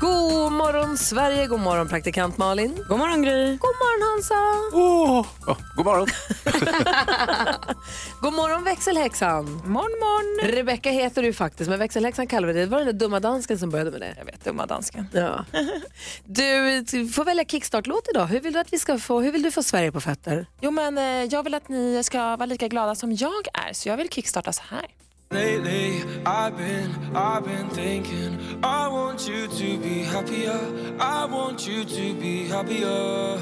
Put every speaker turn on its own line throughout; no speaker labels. God morgon Sverige, god morgon praktikant Malin.
God morgon Gry.
God morgon Hansa.
Oh, oh, god morgon.
God morgon växelhäxan.
Morgon, morgon.
Rebecka heter du faktiskt, men växelhäxan kallar vi dig. Det var den där dumma dansken som började med det.
Jag vet, dumma dansken.
Ja. Du du får välja kickstart-låt idag. Hur vill du att vi ska få, hur vill du få Sverige på fötter?
Jo men eh, jag vill att ni ska vara lika glada som jag är så jag vill kickstarta så här.
Lately, I've been, I've been thinking. I want you to be happier. I want you to be happier.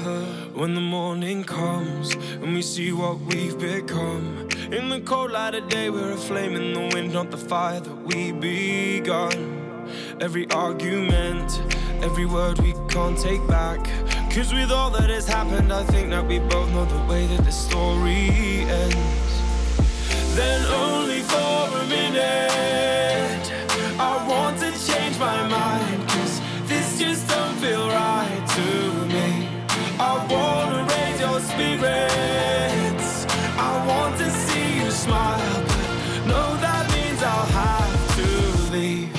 When the morning comes and we see what we've become. In the cold light of day, we're a flame in the wind, not the fire that we begun. Every argument, every word we can't take back. Cause with all that has happened, I think that we both know the way that the story ends then only for a minute. I want to change my mind, cause this just don't feel right to me. I wanna raise your spirits, I want to see you smile. but No, that means I'll have to leave.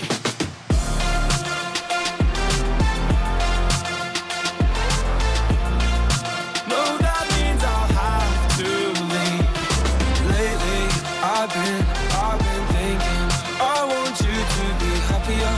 No, that means I'll have to leave. Lately, I've been, I've been thinking. I want you to be happier.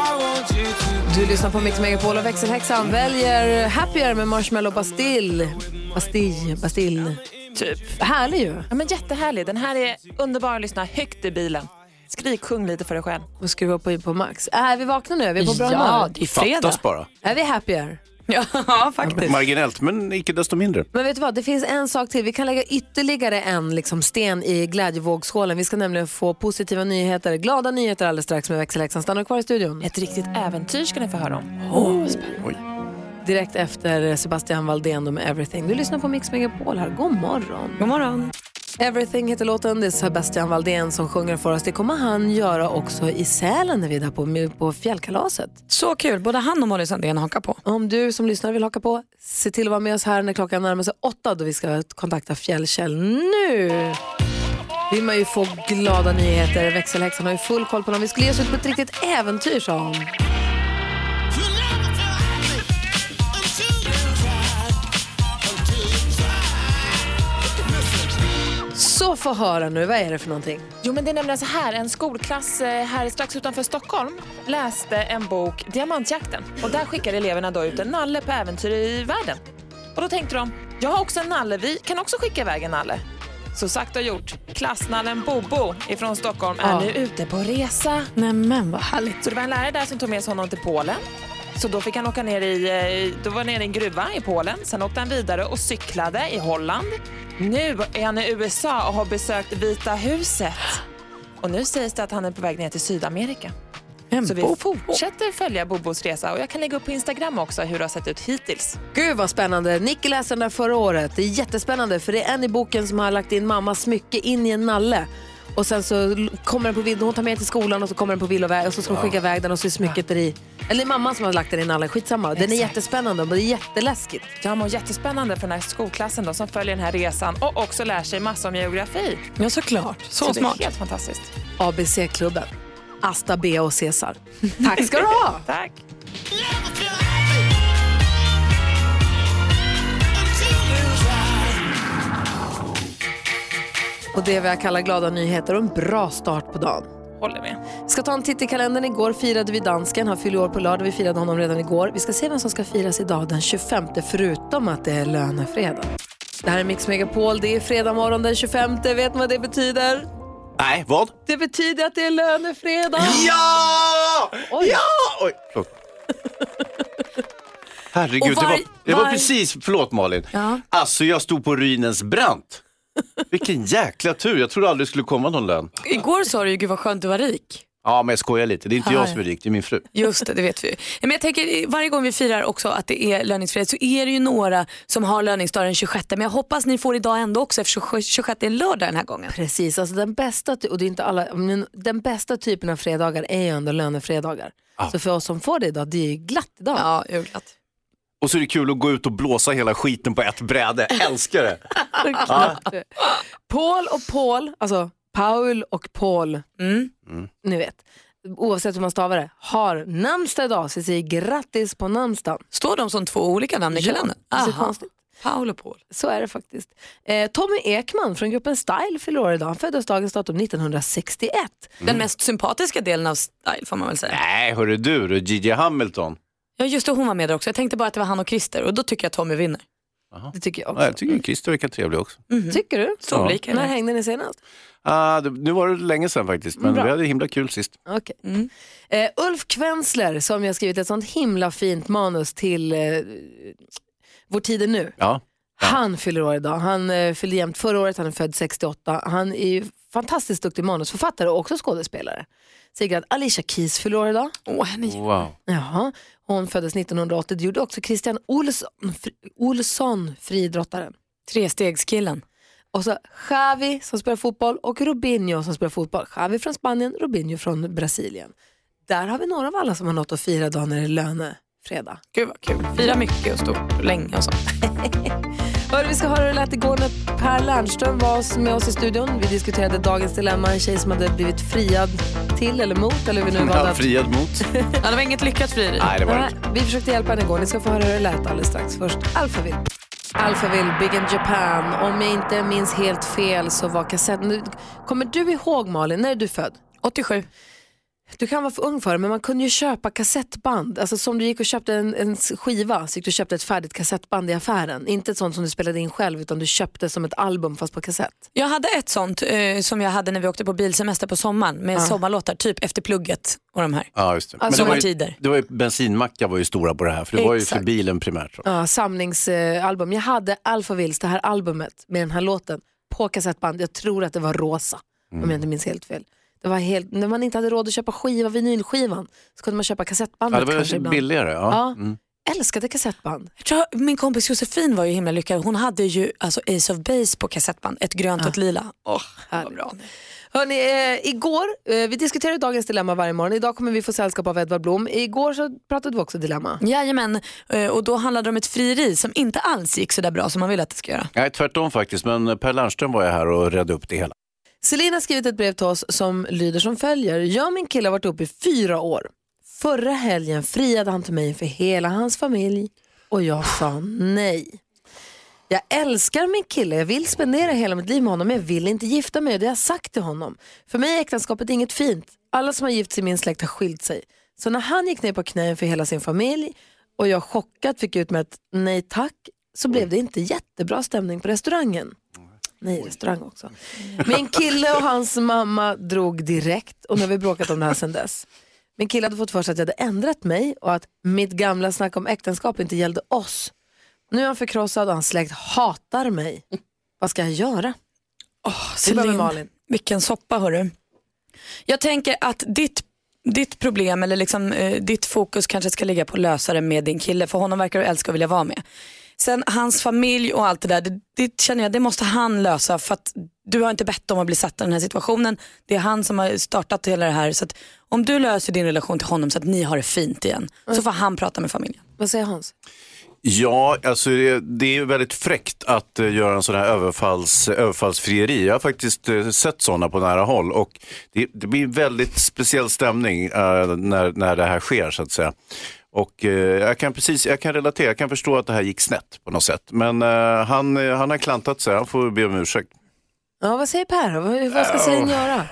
I want you to be
Du lyssnar på Mix Megapol och växelhäxan väljer Happier med Marshmallow Bastille. Bastille, Bastille.
Typ.
Härlig ju.
Ja men jättehärlig. Den här är underbar att lyssna högt i bilen. Skrik, sjung lite för dig själv.
Och skruva på, på max. Är vi vakna nu? Är vi på bra humör?
det är
Fattas bara.
Är vi happier?
Ja, faktiskt.
Marginellt, men icke desto mindre.
Men vet du vad, det finns en sak till. Vi kan lägga ytterligare en liksom, sten i glädjevågskålen. Vi ska nämligen få positiva nyheter, glada nyheter alldeles strax med växelhäxan. Stanna kvar i studion. Oh,
Ett riktigt äventyr ska ni få höra om.
Direkt efter Sebastian Valdén och med Everything. Du lyssnar på Mix Megapol här. God morgon.
God morgon.
Everything heter låten. Det är Sebastian Valdén som sjunger för oss. Det kommer han göra också i Sälen när vi är där på, på fjällkalaset.
Så kul, både han och Molly Sandén hakar på.
Om du som lyssnar vill haka på, se till att vara med oss här när klockan närmar sig åtta då vi ska kontakta Fjällkäll. Nu vill man ju få glada nyheter. Växelhäxan har ju full koll på dem. Vi skulle ge oss ut på ett riktigt äventyr, sa hon. Så få höra nu, vad är det för någonting?
Jo men det är nämligen så här, en skolklass eh, här strax utanför Stockholm läste en bok, Diamantjakten. Och där skickade eleverna då ut en nalle på äventyr i världen. Och då tänkte de, jag har också en nalle, vi kan också skicka iväg en nalle. Så sagt och gjort, klassnallen Bobo ifrån Stockholm är
Ja.
nu ute på resa.
Nej men vad härligt.
Så det var en lärare där som tog med sig honom till Polen. Så då fick han åka ner i, eh, då var han nere i en gruva i Polen. Sen åkte han vidare och cyklade i Holland. Nu är han i USA och har besökt Vita huset. Och nu sägs det att han är på väg ner till Sydamerika.
En
Så vi
bok.
fortsätter följa Bobos resa och jag kan lägga upp på Instagram också hur det har sett ut hittills.
Gud vad spännande. Nicky läste den där förra året. Det är jättespännande för det är en i boken som har lagt in mammas smycke in i en nalle. Och sen så l- kommer den på vill, hon tar med den till skolan och så kommer den på villovägar och så ska hon skicka iväg den och så är smycket där i. Eller det är mamma som har lagt den i nallen, skitsamma. Den är jättespännande och det är jätteläskigt.
Ja, men jättespännande för den här skolklassen då, som följer den här resan och också lär sig massor om geografi.
Ja såklart, så,
det
smart.
är helt fantastiskt.
ABC-klubben. Asta, Bea och Cesar. Tack ska du ha!
Tack!
Och det är vad jag kallar glada nyheter och en bra start på dagen.
Håller med.
Ska ta en titt i kalendern. Igår firade vi dansken. Han fyller år på lördag. Vi firade honom redan igår. Vi ska se vem som ska firas idag den 25, förutom att det är lönefredag. Det här är Mix Megapol. Det är fredag morgon den 25. Vet ni vad det betyder?
Nej, vad?
Det betyder att det är lönefredag.
Ja!
Oj.
Ja! Oj. förlåt. Herregud,
Och var-
det, var, det var
var-
precis, förlåt Malin.
Ja.
Alltså jag stod på ruinens brant. Vilken jäkla tur, jag trodde aldrig det skulle komma någon lön.
Igår sa du ju gud vad skönt du var rik.
Ja, men jag skojar lite, det är inte
Här.
jag som är rik, det är min fru.
Just det, det vet vi ju. Men jag tänker varje gång vi firar också att det är löningsfredag så är det ju några som har löningsdag den 26 men jag hoppas ni får idag ändå också eftersom 26 är lördag den här gången.
Precis, alltså den bästa, ty- och det är inte alla, men den bästa typen av fredagar är ju ändå lönefredagar. Så för oss som får det idag, det är ju glatt idag.
Ja, julklatt.
Och så är det kul att gå ut och blåsa hela skiten på ett bräde, älskar det.
Paul och Paul, alltså Paul och Paul,
Mm.
ni vet, oavsett hur man stavar det, har namnsdag idag. Så vi säger grattis på namnsdagen.
Står de som två olika namn i kalendern?
det är så
Aha.
konstigt.
Paul och Paul.
Så är det faktiskt. Eh, Tommy Ekman från gruppen Style fyller år idag. Han föddes dagens datum 1961.
Den mest sympatiska delen av Style får man väl säga.
Mm. Nej, hörru du, du, Gigi Hamilton.
Ja just det, hon var med där också. Jag tänkte bara att det var han och Christer och då tycker jag Tommy vinner.
Det tycker jag också.
Nej, jag tycker Christer verkar trevlig också.
Tycker du?
Mhm. Så
Ja.
olika är
När
det.
hängde ni senast?
Ah, det, nu var det länge sedan faktiskt, men
Bra.
vi hade himla kul sist.
Okej. Eh, Ulf Kvensler som jag skrivit ett sånt himla fint manus till eh, Vår tid är nu.
Ja.
Han fyller år idag. Han eh, fyllde jämnt förra året, han är född 68. Han är ju fantastiskt duktig manusförfattare och också skådespelare. Sigrid Alicia Keys fyller år idag.
Åh, henne gillar
Wow.
Jaha. Hon föddes 1980. Det gjorde också Christian Olsson, fri, Olsson friidrottaren.
Trestegskillen.
Och så Xavi som spelar fotboll och Robinho som spelar fotboll. Xavi från Spanien, Robinho från Brasilien. Där har vi några av alla som har något att fira idag när det är lönefredag.
Gud vad kul. Fira mycket och stort och länge och så.
Hörru, vi ska höra hur det lät igår när Per Lernström var oss- med oss i studion. Vi diskuterade dagens dilemma, en tjej som hade blivit friad till eller mot eller hur vi nu var.
Ja,
där.
friad mot.
Ja, det var inget lyckat frieri.
Nej, det var det
Nej,
inte.
vi försökte hjälpa henne igår. Ni ska få höra hur det lät alldeles strax. Först Alphaville. Alphaville, Big in Japan. Om jag inte minns helt fel så var kassetten... Nu- Kommer du ihåg Malin, när är du född?
87.
Du kan vara för ung för det, men man kunde ju köpa kassettband. Alltså som du gick och köpte en, en skiva så gick du och köpte ett färdigt kassettband i affären. Inte ett sånt som du spelade in själv utan du köpte som ett album fast på kassett.
Jag hade ett sånt eh, som jag hade när vi åkte på bilsemester på sommaren med sommarlåtar, typ efter plugget och de här.
Ja, just det.
Alltså,
det var ju,
sommartider.
det var ju, bensinmackar var ju stora på det här, för det var ju för
Exakt.
bilen primärt. Då.
Ja, samlingsalbum. Jag hade Alphavilles, det här albumet med den här låten på kassettband. Jag tror att det var rosa om
Mm.
jag inte minns helt fel. Det var helt, när man inte hade råd att köpa skiva, vinylskivan så kunde man köpa kassettbandet
Ja, det var
kanske
ju
ibland.
billigare.
Ja.
Ja. Mm.
Älskade kassettband.
Jag tror min kompis Josefin var ju himla lyckad. Hon hade ju alltså Ace of Base på kassettband, ett grönt och ett lila. Åh, vad
härligt.
bra.
Hörrni, eh, igår, eh, vi diskuterar dagens dilemma varje morgon. Idag kommer vi få sällskap av Edvard Blom. Igår så pratade vi också dilemma.
Jajamän, eh, och då handlade det om ett frieri som inte alls gick så där bra som man ville att det ska göra.
Nej, tvärtom faktiskt, men Per Lernström var ju här och redde upp det hela.
Selina har skrivit ett brev till oss som lyder som följer. Jag och min kille har varit ihop i fyra år. Förra helgen friade han till mig inför hela hans familj och jag sa nej. Jag älskar min kille, jag vill spendera hela mitt liv med honom men jag vill inte gifta mig och det har jag sagt till honom. För mig är äktenskapet inget fint. Alla som har gift sig i min släkt har skilt sig. Så när han gick ner på knä för hela sin familj och jag chockat fick ut med ett nej tack så blev det inte jättebra stämning på restaurangen. Nej, restaurang också. Min kille och hans mamma drog direkt och nu har vi bråkat om det här sedan dess. Min kille hade fått för sig att jag hade ändrat mig och att mitt gamla snack om äktenskap inte gällde oss. Nu är han förkrossad och hans släkt hatar mig. Vad ska jag göra?
Oh,
Vi börjar med Malin.
Vilken soppa hörru. Jag tänker att ditt, ditt problem eller liksom, eh, ditt fokus kanske ska ligga på att lösa det med din kille för honom verkar du älska och vilja vara med. Sen hans familj och allt det där, det, det känner jag det måste han lösa för att du har inte bett om att bli satt i den här situationen. Det är han som har startat hela det här. Så att om du löser din relation till honom så att ni har det fint igen så får han prata med familjen.
Vad säger Hans?
Ja, alltså det, det är ju väldigt fräckt att eh, göra en sån här överfalls, överfallsfrieri. Jag har faktiskt eh, sett sådana på nära håll och det, det blir en väldigt speciell stämning eh, när, när det här sker så att säga. Och eh, jag kan precis, jag kan relatera, jag kan förstå att det här gick snett på något sätt. Men eh, han, eh, han har klantat sig, han får be om ursäkt.
Ja, vad säger Per? Vad, vad ska Celine göra?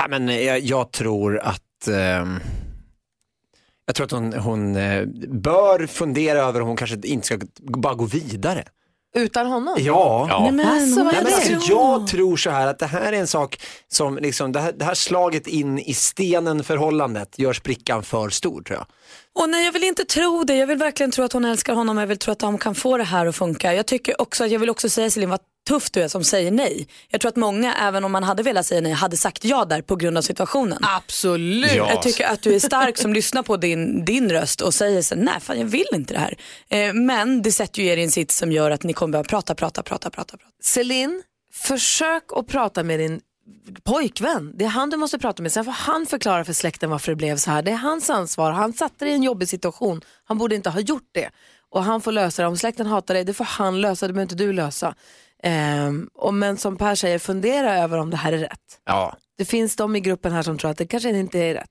Ja, men eh, jag, jag tror att ehm, jag tror att hon, hon eh, bör fundera över om hon kanske inte ska g- bara gå vidare.
Utan honom?
Ja.
Ja.
men,
Alltså, vad
Nej, men
det?
alltså, jag tror så här att det här är en sak som, liksom, det, här, det här slaget in i stenen förhållandet gör sprickan för stor tror jag.
Och nej, jag vill inte tro det. Jag vill verkligen tro att hon älskar honom. Jag vill tro att de kan få det här att funka. Jag, tycker också, jag vill också säga Celine, vad tuff du är som säger nej. Jag tror att många, även om man hade velat säga nej, hade sagt ja där på grund av situationen.
Absolut.
Jag tycker att du är stark som lyssnar på din, din röst och säger så, nej fan jag vill inte det här. Eh, men det sätter ju er i en sits som gör att ni kommer behöva prata, prata, prata, prata. prata.
Celine, försök att prata med din pojkvän. Det är han du måste prata med. Sen får han förklara för släkten varför det blev så här. Det är hans ansvar. Han satte dig i en jobbig situation. Han borde inte ha gjort det. Och han får lösa det. Om släkten hatar dig, det får han lösa. Det behöver inte du lösa. Ehm, och men som Per säger, fundera över om det här är rätt.
Ja,
Det finns de i gruppen här som tror att det kanske inte är rätt.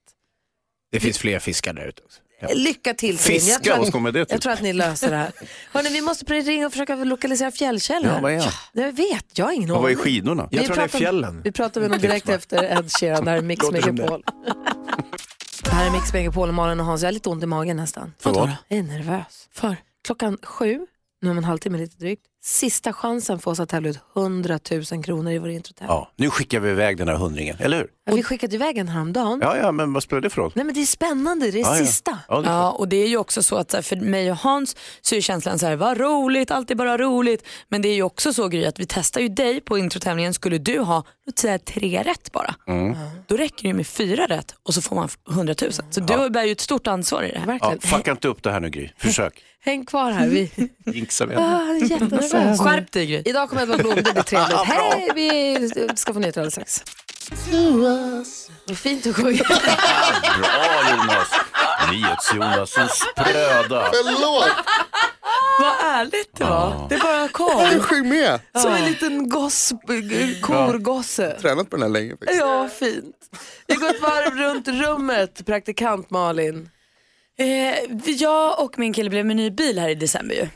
det finns fler fiskar där ute också. Ja.
Lycka till Corinne.
Fiska,
jag tror,
vad
att,
ska man med det typ. till?
jag tror att ni löser det här. Hörrni, vi måste börja ringa och försöka lokalisera fjällkällor.
Ja, vad är han?
Jag vet, jag har ingen
Han var i
aning.
skidorna.
Jag
Vi
tror det är
pratar-
fjällen.
Vi pratar med honom direkt efter Ed Sheeran, det här är Mix
Låter som det.
Megapol. Det här är Mix Megapol, Malin och Hans. Jag har lite ont i magen nästan.
För vad?
Jag är nervös. För? Klockan sju, nu om en halvtimme lite drygt, sista chansen för oss att tävla ut 100 000 kronor i vår introtävling.
Ja, nu skickar vi iväg den här hundringen, eller hur?
Ja. Vi skickade iväg en häromdagen.
Ja, ja, men vad spelar det för roll?
Nej men det är spännande, det är
Ah, Ja, ja.
sista.
Ja, det är klart.
Ja, och det är ju också så att så här, för mig och Hans så är känslan så här, vad roligt, allt är bara roligt. Men det är ju också så Gry att vi testar ju dig på introtävlingen. Skulle du ha, låt säga tre rätt bara,
Mm.
då räcker det ju med fyra rätt och så får man 100 000. Så du bär ju ett stort ansvar i det här.
ja,
Verkligen.
fucka inte upp det här nu Gry, försök.
Häng kvar här, vi
Jinxa vi
ah, jag är jättenervös.
Skärp dig Gry.
Idag kommer Edvard Blom, det blir trevligt. Hej, vi ska få nyheter alldeles strax. Vad fint du sjunger.
Bra Jonas! Nyhets-Jonas, en spröda.
Förlåt,
Vad ärligt det var. Det bara
du
kom.
sjöng med.
Som en liten goss, korgosse.
Tränat på den här länge faktiskt.
Ja, fint. Vi går ett varv runt rummet, praktikant Malin.
Eh, jag och min kille blev med ny bil här i december ju.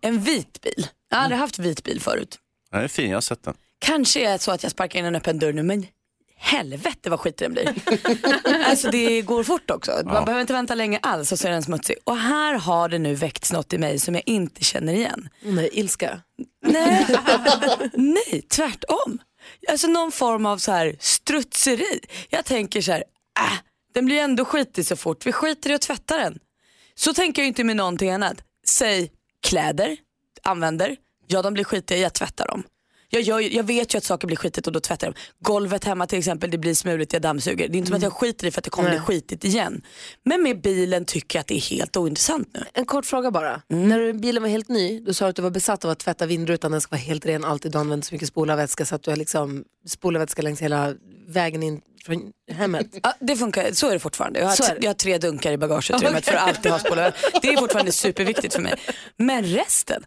En vit bil. Jag har aldrig haft vit bil förut.
Den är fin, jag har sett den.
Kanske är det så att jag sparkar in en öppen dörr nu men helvete vad skit den blir. alltså det går fort också. Man behöver inte vänta länge alls och så är den smutsig. Och här har det nu väckts något i mig som jag inte känner igen.
Nej, ilska.
Nej, Nej tvärtom. Alltså någon form av så här strutseri. Jag tänker så här, äh, den blir ändå skitig så fort. Vi skiter i att tvätta den. Så tänker jag ju inte med någonting annat. Säg kläder, använder. Ja, de blir skitiga, jag tvättar dem. Jag, gör ju- jag vet ju att saker blir skitigt och då tvättar jag dem. Golvet hemma till exempel, det blir smuligt, jag dammsuger. Det är inte
Mm.
som att jag skiter i för att det kommer bli skitigt igen. Men med bilen tycker jag att det är helt ointressant nu.
En kort fråga bara. När du- bilen var helt ny, då sa du att du var besatt av att tvätta vindrutan. Den ska vara helt ren alltid. Du använder så mycket spolarvätska så att du har liksom spolarvätska längs hela vägen in från hemmet.
Ja, det funkar, så är det fortfarande. Jag
Så
har,
är det.
jag har tre dunkar i bagageutrymmet för att alltid ha spolat. Det är fortfarande superviktigt för mig. Men resten.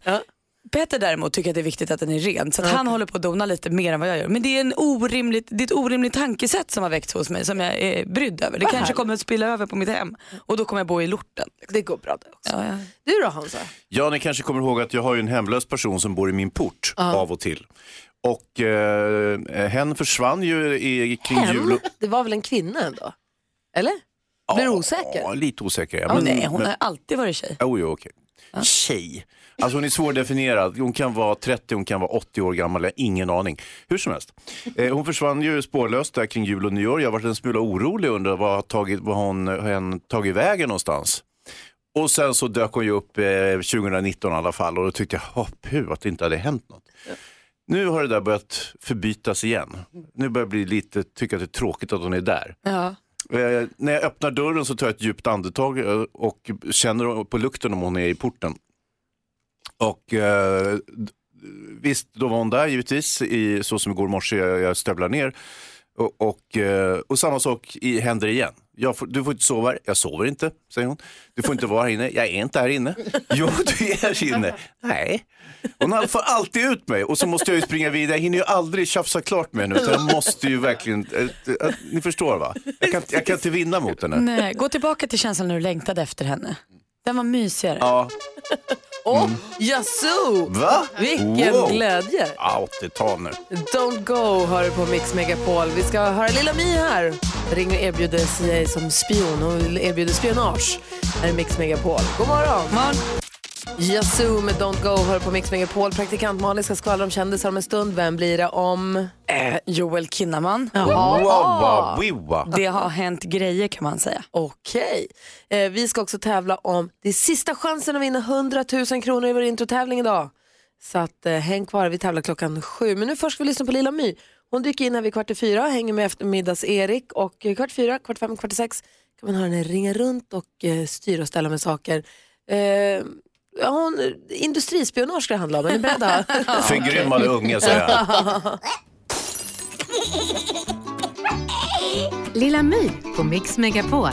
Peter däremot tycker att det är viktigt att den är ren så att han håller på att dona lite mer än vad jag gör. Men det är, en orimligt, det är ett orimligt tankesätt som har väckts hos mig som jag är brydd över. Det kanske kommer att spilla över på mitt hem och då kommer jag bo i lorten.
Det går bra det också.
Ja, ja.
Du då Hansa?
Ja, ni kanske kommer ihåg att jag har ju en hemlös person som bor i min port av och till. Och eh, hen försvann ju i, kring jul.
Hem?
och-
Det var väl en kvinna ändå? Eller? Blir du osäker?
Ja, lite osäker. Ja,
Ja,
men-
nej, hon
men-
har alltid varit tjej.
Jo, jo, okej. Tjej. Alltså hon är svårdefinierad. Hon kan vara 30, hon kan vara 80 år gammal. Jag har ingen aning. Hur som helst. Eh, hon försvann ju spårlöst där kring jul och nyår. Jag har varit en smula orolig och undrar vad har tagit, vad har hon, har hon tagit vägen någonstans? Och sen så dök hon ju upp eh, 2019 i alla fall och då tyckte jag, oh, puh, att det inte hade hänt något. Nu har det där börjat förbytas igen. Nu börjar jag bli lite, tycka att det är tråkigt att hon är där. Eh, när jag öppnar dörren så tar jag ett djupt andetag eh, och känner på lukten om hon är i porten. Och eh, d- visst, då var hon där givetvis, i, så som igår morse jag, jag stövlar ner. Och, och, eh, och samma sak i, händer igen. Jag får, du får inte sova här. Jag sover inte, säger hon. Du får inte vara här inne. Jag är inte här inne. Jo, du är här inne. Nej. Hon får alltid ut mig och så måste jag ju springa vidare. Jag hinner ju aldrig tjafsa klart med henne. Utan jag måste ju verkligen, eh, eh, ni förstår va? Jag kan, jag kan inte vinna mot henne.
Nej, gå tillbaka till känslan när du längtade efter henne. Den var mysigare.
Ja, Mm.
Åh, jaså!
va?
Vilken
Wow.
glädje!
Ja, 80-tal nu.
Don't go hör du på Mix Megapol. Vi ska höra Lilla My här. Ring och erbjuder sig som spion och erbjuder spionage. Här är Mix Megapol. God morgon! Yazoo med Don't Go hör på Mix Megapol. Praktikant Malin ska skvallra om kändisar om en stund. Vem blir det om?
Eh, Joel Kinnaman.
Wow, wow, wow.
Det har hänt grejer kan man säga.
Okej. Eh, vi ska också tävla om det är sista chansen att vinna 100 000 kronor i vår introtävling idag. Så att, eh, häng kvar, vi tävlar klockan sju. Men nu först ska vi lyssna på Lilla My. Hon dyker in här vid kvart i fyra, hänger med eftermiddags-Erik och eh, kvart i fyra, kvart i fem, kvart i sex kan man höra henne ringa runt och eh, styra och ställa med saker. Eh, ja, hon, eh, industrispionage ska det handla om, är ni beredda?
Förgrymmade unge säger jag.
Lilla My på Mix Megapol.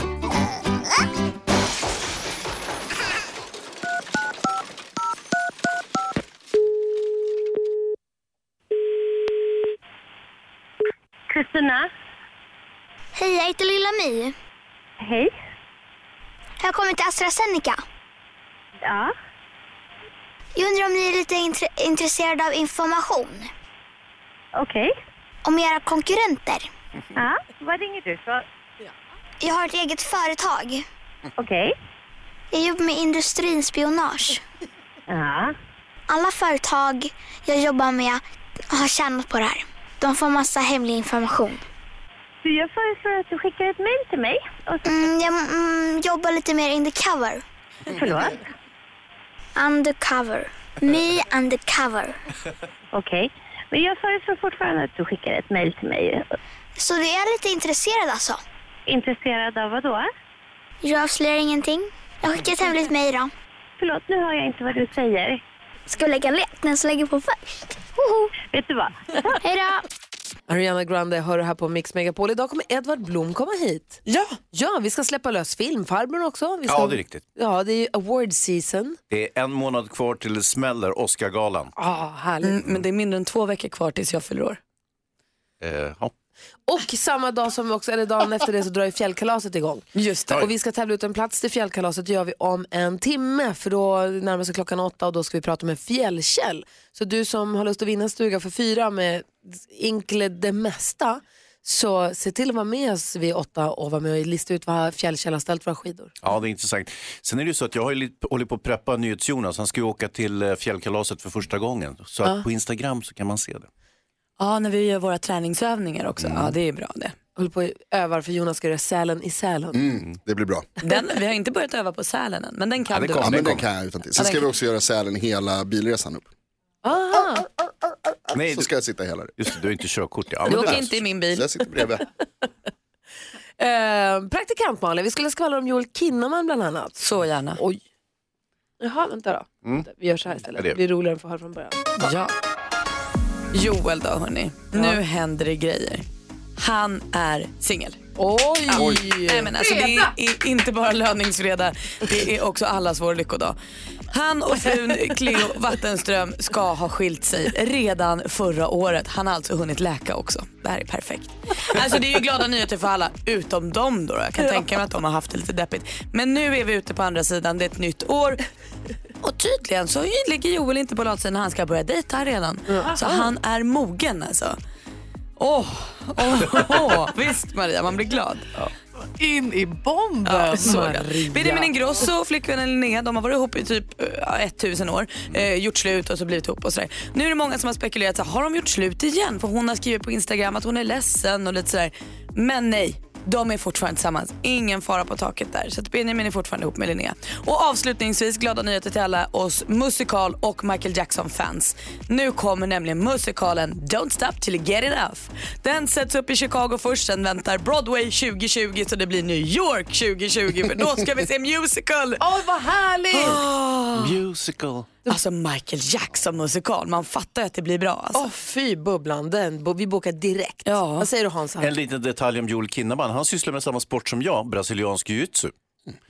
Hej, jag heter Lilla My.
Hej.
Jag har kommit till AstraZeneca.
Ja.
Jag undrar om ni är lite intre- intresserade av information
Okej.
om era konkurrenter.
Ja. Vad ringer du för?
Jag har ett eget företag.
Okej.
Jag jobbar med industrispionage.
Ja.
Alla företag jag jobbar med har tjänat på det här. De får massa hemlig information.
Du, jag föreslår att du skickar ett mejl till mig. Och så...
Mm, jag mm, jobbar lite mer undercover.
Förlåt?
Undercover. Me undercover.
Okej. Men jag föreslår fortfarande att du skickar ett mejl till mig.
Så du är lite intresserad alltså?
Intresserad av vad då?
Jag avslöjar ingenting. Jag skickar ett hemligt mejl då.
Förlåt, nu hör jag inte vad du säger.
Ska vi lägga lek? Den som lägger på först. Woho!
Vet du vad?
Hej då!
Ariana Grande hör du här på Mix Megapol. Idag kommer Edvard Blom komma hit.
Ja.
Ja, vi ska släppa lös filmfarbrorn också. Vi ska...
Ja, det är riktigt.
Ja, det är ju award season.
Det är en månad kvar till det smäller, Oscargalan.
Ah, härligt.
Mm, men det är mindre än två veckor kvar tills jag fyller år.
Eh, ja.
Och samma dag som också, eller dagen efter det så drar ju fjällkalaset igång.
Just
Oj.
Och vi ska tävla ut en plats till fjällkalaset, det gör vi om en timme för då närmar sig klockan åtta och då ska vi prata om en fjällkäll. Så du som har lust att vinna en stuga för fyra med inkle det mesta, så se till att vara med oss vid åtta och vara med och lista ut vad fjällkäll har ställt våra skidor.
Ja, det är intressant. Sen är det ju så att jag har ju lite- håller på att preppa NyhetsJonas. Han ska ju åka till eh, fjällkalaset för första gången. Så att på Instagram så kan man se det.
Ja, när vi gör våra träningsövningar också.
Mm.
Ja, det är bra det.
Håller på och övar för Jonas ska göra Sälen i Sälen.
Mm, det blir bra.
Den, vi har inte börjat öva på Sälen än, men den kan
Ja, det
du.
kommer.
Ja, men den
kommer.
kan jag utan till.
Ja,
Sen
den
ska vi
kan-
också göra sälen hela bilresan upp.
Aha.
Nej,
Så
du,
ska jag sitta hela det.
just det, du har inte körkort. Ja, men
Du
det
åker
där-
inte i min
Så
bil.
jag sitter bredvid.
Eh, praktikant Malin, vi skulle skvallra om Joel Kinnaman bland annat.
Så gärna.
Oj. Jaha, vänta då.
Mm.
Vi gör så här istället.
Ja, det
Det
gör
blir roligare att få höra från början.
Ja. Joel då hörni, nu händer det grejer. Han är singel.
Oj!
Nej, men alltså, det är i- inte bara löningsfredag, det är också allas vår lyckodag. Han och frun Cleo Vattenström ska ha skilt sig redan förra året. Han har alltså hunnit läka också. Det här är perfekt. Alltså det är ju glada nyheter för alla, utom dem då. Jag kan tänka mig att de har haft det lite deppigt. Men nu är vi ute på andra sidan, det är ett nytt år. Och tydligen så ligger Joel inte på latsidan, han ska börja dejta redan. Så han är mogen alltså. Åh, åh, åh. visst Maria, man blir glad.
In i bomben!
Ja, så är det. Benjamin Ingrosso och flickvännen Linnea de har varit ihop i typ eh, ja, 1000 år, eh, gjort slut och så blivit ihop och sådär. Nu är det många som har spekulerat, så här, har de gjort slut igen? För hon har skrivit på Instagram att hon är ledsen och lite sådär. Men nej, de är fortfarande tillsammans. Ingen fara på taket där. Så att Benjamin är fortfarande ihop med Linnea. Och avslutningsvis, glada nyheter till alla oss musikal och Michael Jackson-fans. Nu kommer nämligen musikalen Don't Stop Till You Get It Off. Den sätts upp i Chicago först, sen väntar Broadway 2020 så det blir New York 2020 för då ska vi se musical.
Oj, vad härligt! Ah!
Musical.
Alltså Michael Jackson-musikal, man fattar ju att det blir bra. Alltså.
Åh fy bubblan, den, bo- vi bokar direkt.
Ja.
Vad säger du Hans?
En liten detalj om Joel Kinnaman. Han sysslar med samma sport som jag, brasiliansk jiu-jitsu.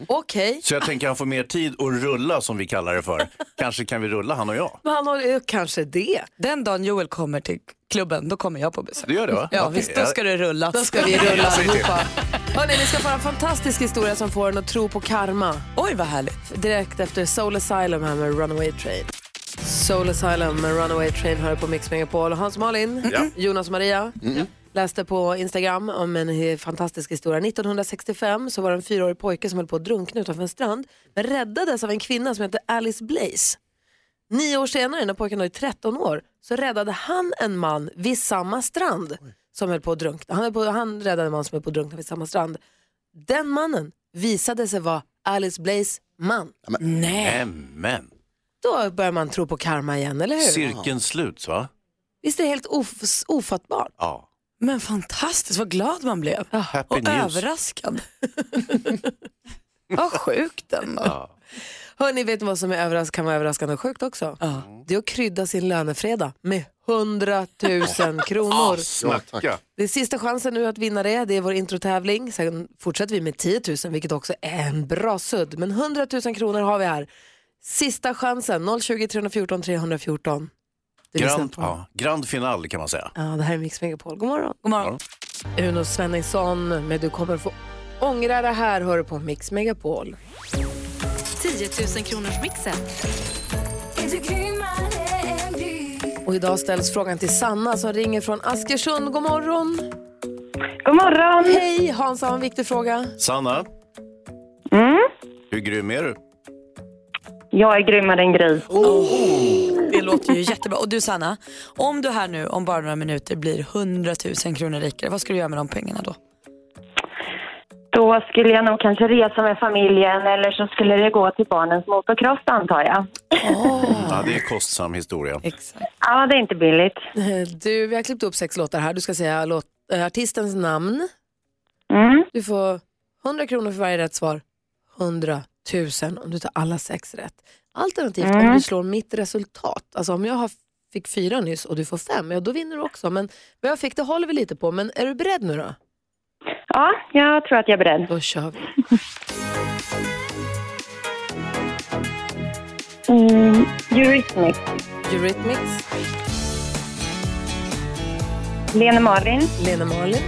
Okej,
Så jag tänker han får mer tid att rulla som vi kallar det för. Kanske kan vi rulla han och jag.
men han har eh, kanske det.
Den dagen Joel kommer till klubben, då kommer jag på besök.
Du gör det va?
Ja
Okej,
visst, då ska det rulla.
Då ska vi rulla
Jag säger till.
allihopa. Hörrni, ni ska få höra en fantastisk historia som får en att tro på karma.
Oj vad härligt.
Direkt efter Soul Asylum här med Runaway Train. Soul Asylum med Runaway Train hör på Mix Megapol. Hans och Malin,
Ja.
Jonas och Maria.
Mm.
Läste på Instagram om en he- fantastisk historia. 1965 så var det en fyraårig pojke som höll på att drunkna utanför en strand. Men räddades av en kvinna som hette Alice Blaze. Nio år senare, när pojken var i 13 år, så räddade han en man vid samma strand som höll på att drunkna. Han, höll på, han räddade en man som höll på att drunkna vid samma strand. Den mannen visade sig vara Alice Blaze man.
Nämen.
Då börjar man tro på karma igen, eller hur?
Cirkeln sluts va?
Visst är det helt of- ofattbart?
Ja.
Men fantastiskt, vad glad man blev.
Happy
Och
news.
överraskad. vad sjukt den var.
Ja.
Hörni, vet ni vad som är överras- kan vara överraskande och sjukt också?
Ja.
Det är att krydda sin lönefredag med 100 000 kronor.
Ja, tack.
Ja.
Det är sista chansen nu att vinna det. Det är vår introtävling. Sen fortsätter vi med 10 000, vilket också är en bra sudd. Men 100 000 kronor har vi här. Sista chansen, 020 314 314. Du lyssnar
Grand,
på.
ja, grand final kan man säga.
Ja, det här är Mix Megapol. God morgon.
God morgon.
Uno Svenningsson med Du kommer få ångra det här hör du på Mix Megapol.
10 000 kronors mixen.
Och idag ställs frågan till Sanna som ringer från Askersund. God morgon.
God morgon.
Hej, Hansa har en viktig fråga.
Sanna, hur grym är du?
Jag är grymmare än Gry.
Oh!
Det låter ju jättebra. Och du Sanna, om du här nu om bara några minuter blir 100 000 kronor rikare, vad ska du göra med de pengarna då?
Då skulle jag nog kanske resa med familjen eller så skulle det gå till barnens motocross antar jag.
Ja, det är en kostsam historia.
Ja, det är inte billigt.
Du, vi har klippt upp sex låtar här. Du ska säga låt, eh, artistens namn.
Mm.
Du får 100 kronor för varje rätt svar. 100 000 om du tar alla sex rätt. Alternativt om
Mm.
du slår mitt resultat. Alltså om jag har, fick fyra nyss och du får fem, ja då vinner du också. Men vad jag fick det håller vi lite på. Men är du beredd nu då?
Ja, jag tror att jag är beredd.
Då kör vi.
Mm. Eurythmics.
Eurythmics.
Lena Malin.
Lena Malin.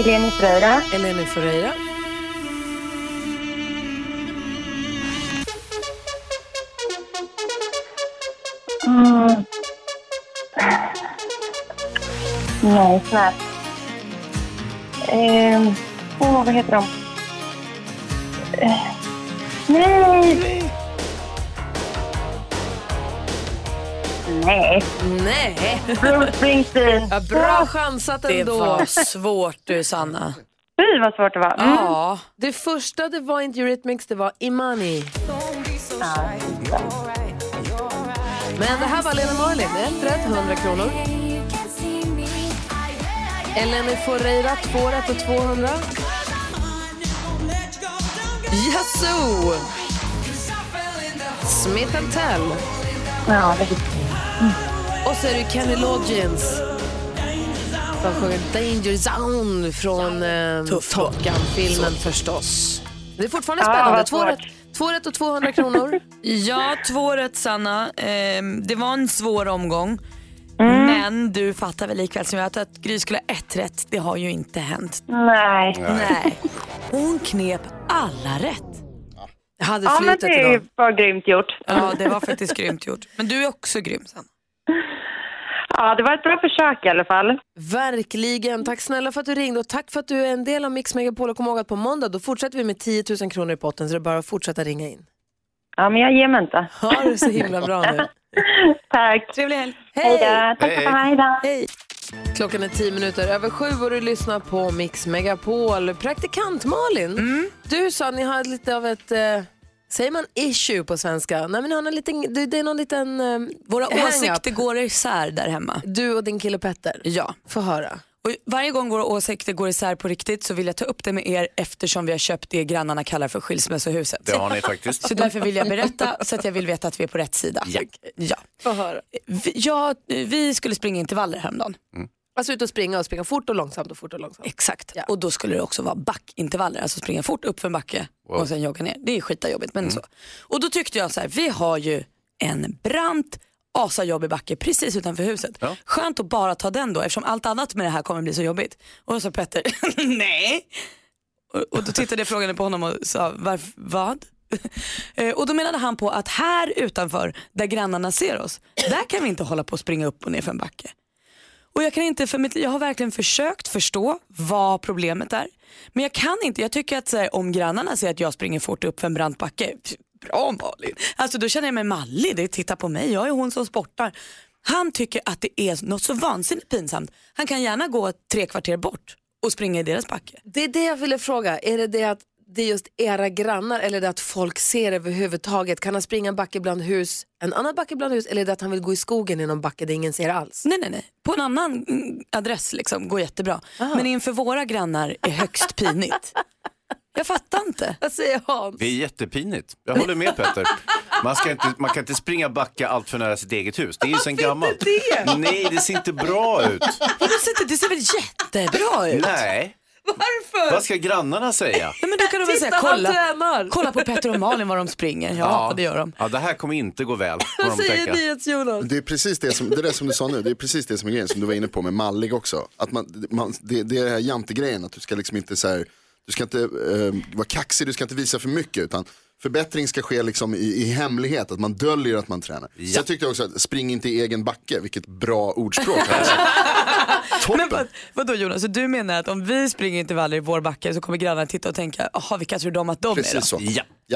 Eleni Ferreira.
Eleni Ferreira.
Mm. Nej, snäpp. Ehm, åh, vad heter de? Eh, nej! Nej.
Nej.
Bruce Springsteen.
Ja, bra chansat
Det
ändå.
var svårt du Sanna.
Fy, vad svårt det var. Mm.
Ja.
Det första det var inte Eurythmics, det var Imani. Men det här var Lena Marlin. Ett rätt, 100 kronor. Eleni Ferreira, två rätt och 200. Yazoo! Smith Tell.
Ja, det- Mm.
Och så är det Kenny Loggins som sjunger Danger Zone från eh, Top Gun-filmen förstås. Det är fortfarande
Ja,
spännande.
vad
Två rätt,
svårt.
två rätt och 200 kronor.
Ja, två rätt Sanna. Ehm, det var en svår omgång.
Mm.
Men du fattar väl likväl som jag att- att Gry skulle ha ett rätt, det har ju inte hänt.
nej.
Nej. Hon knep alla rätt.
Jag hade
Ja, men
flytet
det är
idag.
ju bara grymt gjort.
Ja, det var faktiskt grymt gjort. Men du är också grym Sanna.
Ja, det var ett bra försök i alla fall.
Verkligen. Tack snälla för att du ringde och tack för att du är en del av Mix Megapol. Och kom ihåg att på måndag då fortsätter vi med 10 000 kronor i potten så det är bara att fortsätta ringa in.
Ja, men jag ger mig inte.
Ha det så himla bra nu.
Tack.
Trevlig helg.
Hej då. Tack
Hej.
för mig då.
Klockan är 10 minuter över sju och du lyssnar på Mix Megapol. Praktikant Malin, du sa att ni har lite av ett, eh, säger man issue på svenska? Nej men ni har en liten, det, det är någon liten eh,
Våra
hang-up.
åsikter går isär där hemma.
Du och din kille Petter,
Ja.
få höra.
Och varje gång våra åsikter går isär på riktigt så vill jag ta upp det med er eftersom vi har köpt det grannarna kallar för skilsmässohuset.
Det har ni faktiskt.
Så därför vill jag berätta så att jag vill veta att vi är på rätt sida.
Ja.
Ja.
Få höra.
Vi, ja, vi skulle springa intervaller häromdagen.
Alltså ut och springa och springa fort och långsamt och fort och långsamt.
Exakt. Och då skulle det också vara backintervaller, alltså springa fort upp för en backe och sen jogga ner. Det är skita jobbigt men så. Och då tyckte jag så här, vi har ju en brant asajobbig backe precis utanför huset. Skönt att bara ta den då eftersom allt annat med det här kommer bli så jobbigt. Och då sa Petter, nej. Och, och då tittade jag frågande på honom och sa, Varf, vad? Eh, och då menade han på att här utanför, där grannarna ser oss, där kan vi inte hålla på och springa upp och ner för en backe. Och jag, kan inte för mitt, jag har verkligen försökt förstå vad problemet är. Men jag kan inte. Jag tycker att så här, om grannarna ser att jag springer fort upp för en brant backe, pff, bra Malin. Alltså då känner jag mig mallig. Det titta på mig, jag är hon som sportar. Han tycker att det är något så vansinnigt pinsamt. Han kan gärna gå tre kvarter bort och springa i deras backe.
Det är det jag ville fråga. Är det det att det är just era grannar eller det att folk ser överhuvudtaget? Kan han springa en backe bland hus, en annan backe bland hus eller är det att han vill gå i skogen i någon backe där ingen ser alls?
Nej, nej, nej. På en annan mm, adress liksom, går jättebra. Men inför våra grannar är högst pinigt. Jag fattar inte.
Vad säger han?
Det är jättepinigt. Jag håller med Petter. Man, ska inte, man kan inte springa backa allt för nära sitt eget hus. Det är ju sen gammalt. Nej, det ser inte bra ut.
Vadå, ser inte- Det ser väl jättebra ut?
Nej,
Varför?
Vad ska grannarna säga?
Nej, men då kan du väl
Titta,
säga,
han
kolla,
tränar.
kolla på Petter och Malin var de springer. Ja, det gör de.
Ja, det här kommer inte gå väl. får de tänka.
Jonas?
Det är precis det som, det där som du sa nu, det är precis det som är grejen som du var inne på med mallig också. Att man, man, det, det är den här jantegrejen, att du ska liksom inte så här, du ska inte eh, vara kaxig, du ska inte visa för mycket utan förbättring ska ske liksom i, i hemlighet, att man döljer att man tränar. Så jag tyckte också att spring inte i egen backe, vilket bra ordspråk. Alltså.
Men vad, vadå Jonas, så du menar att om vi springer intervaller i vår backe så kommer grannarna titta och tänka, jaha vilka tror de att de är då?
Precis så.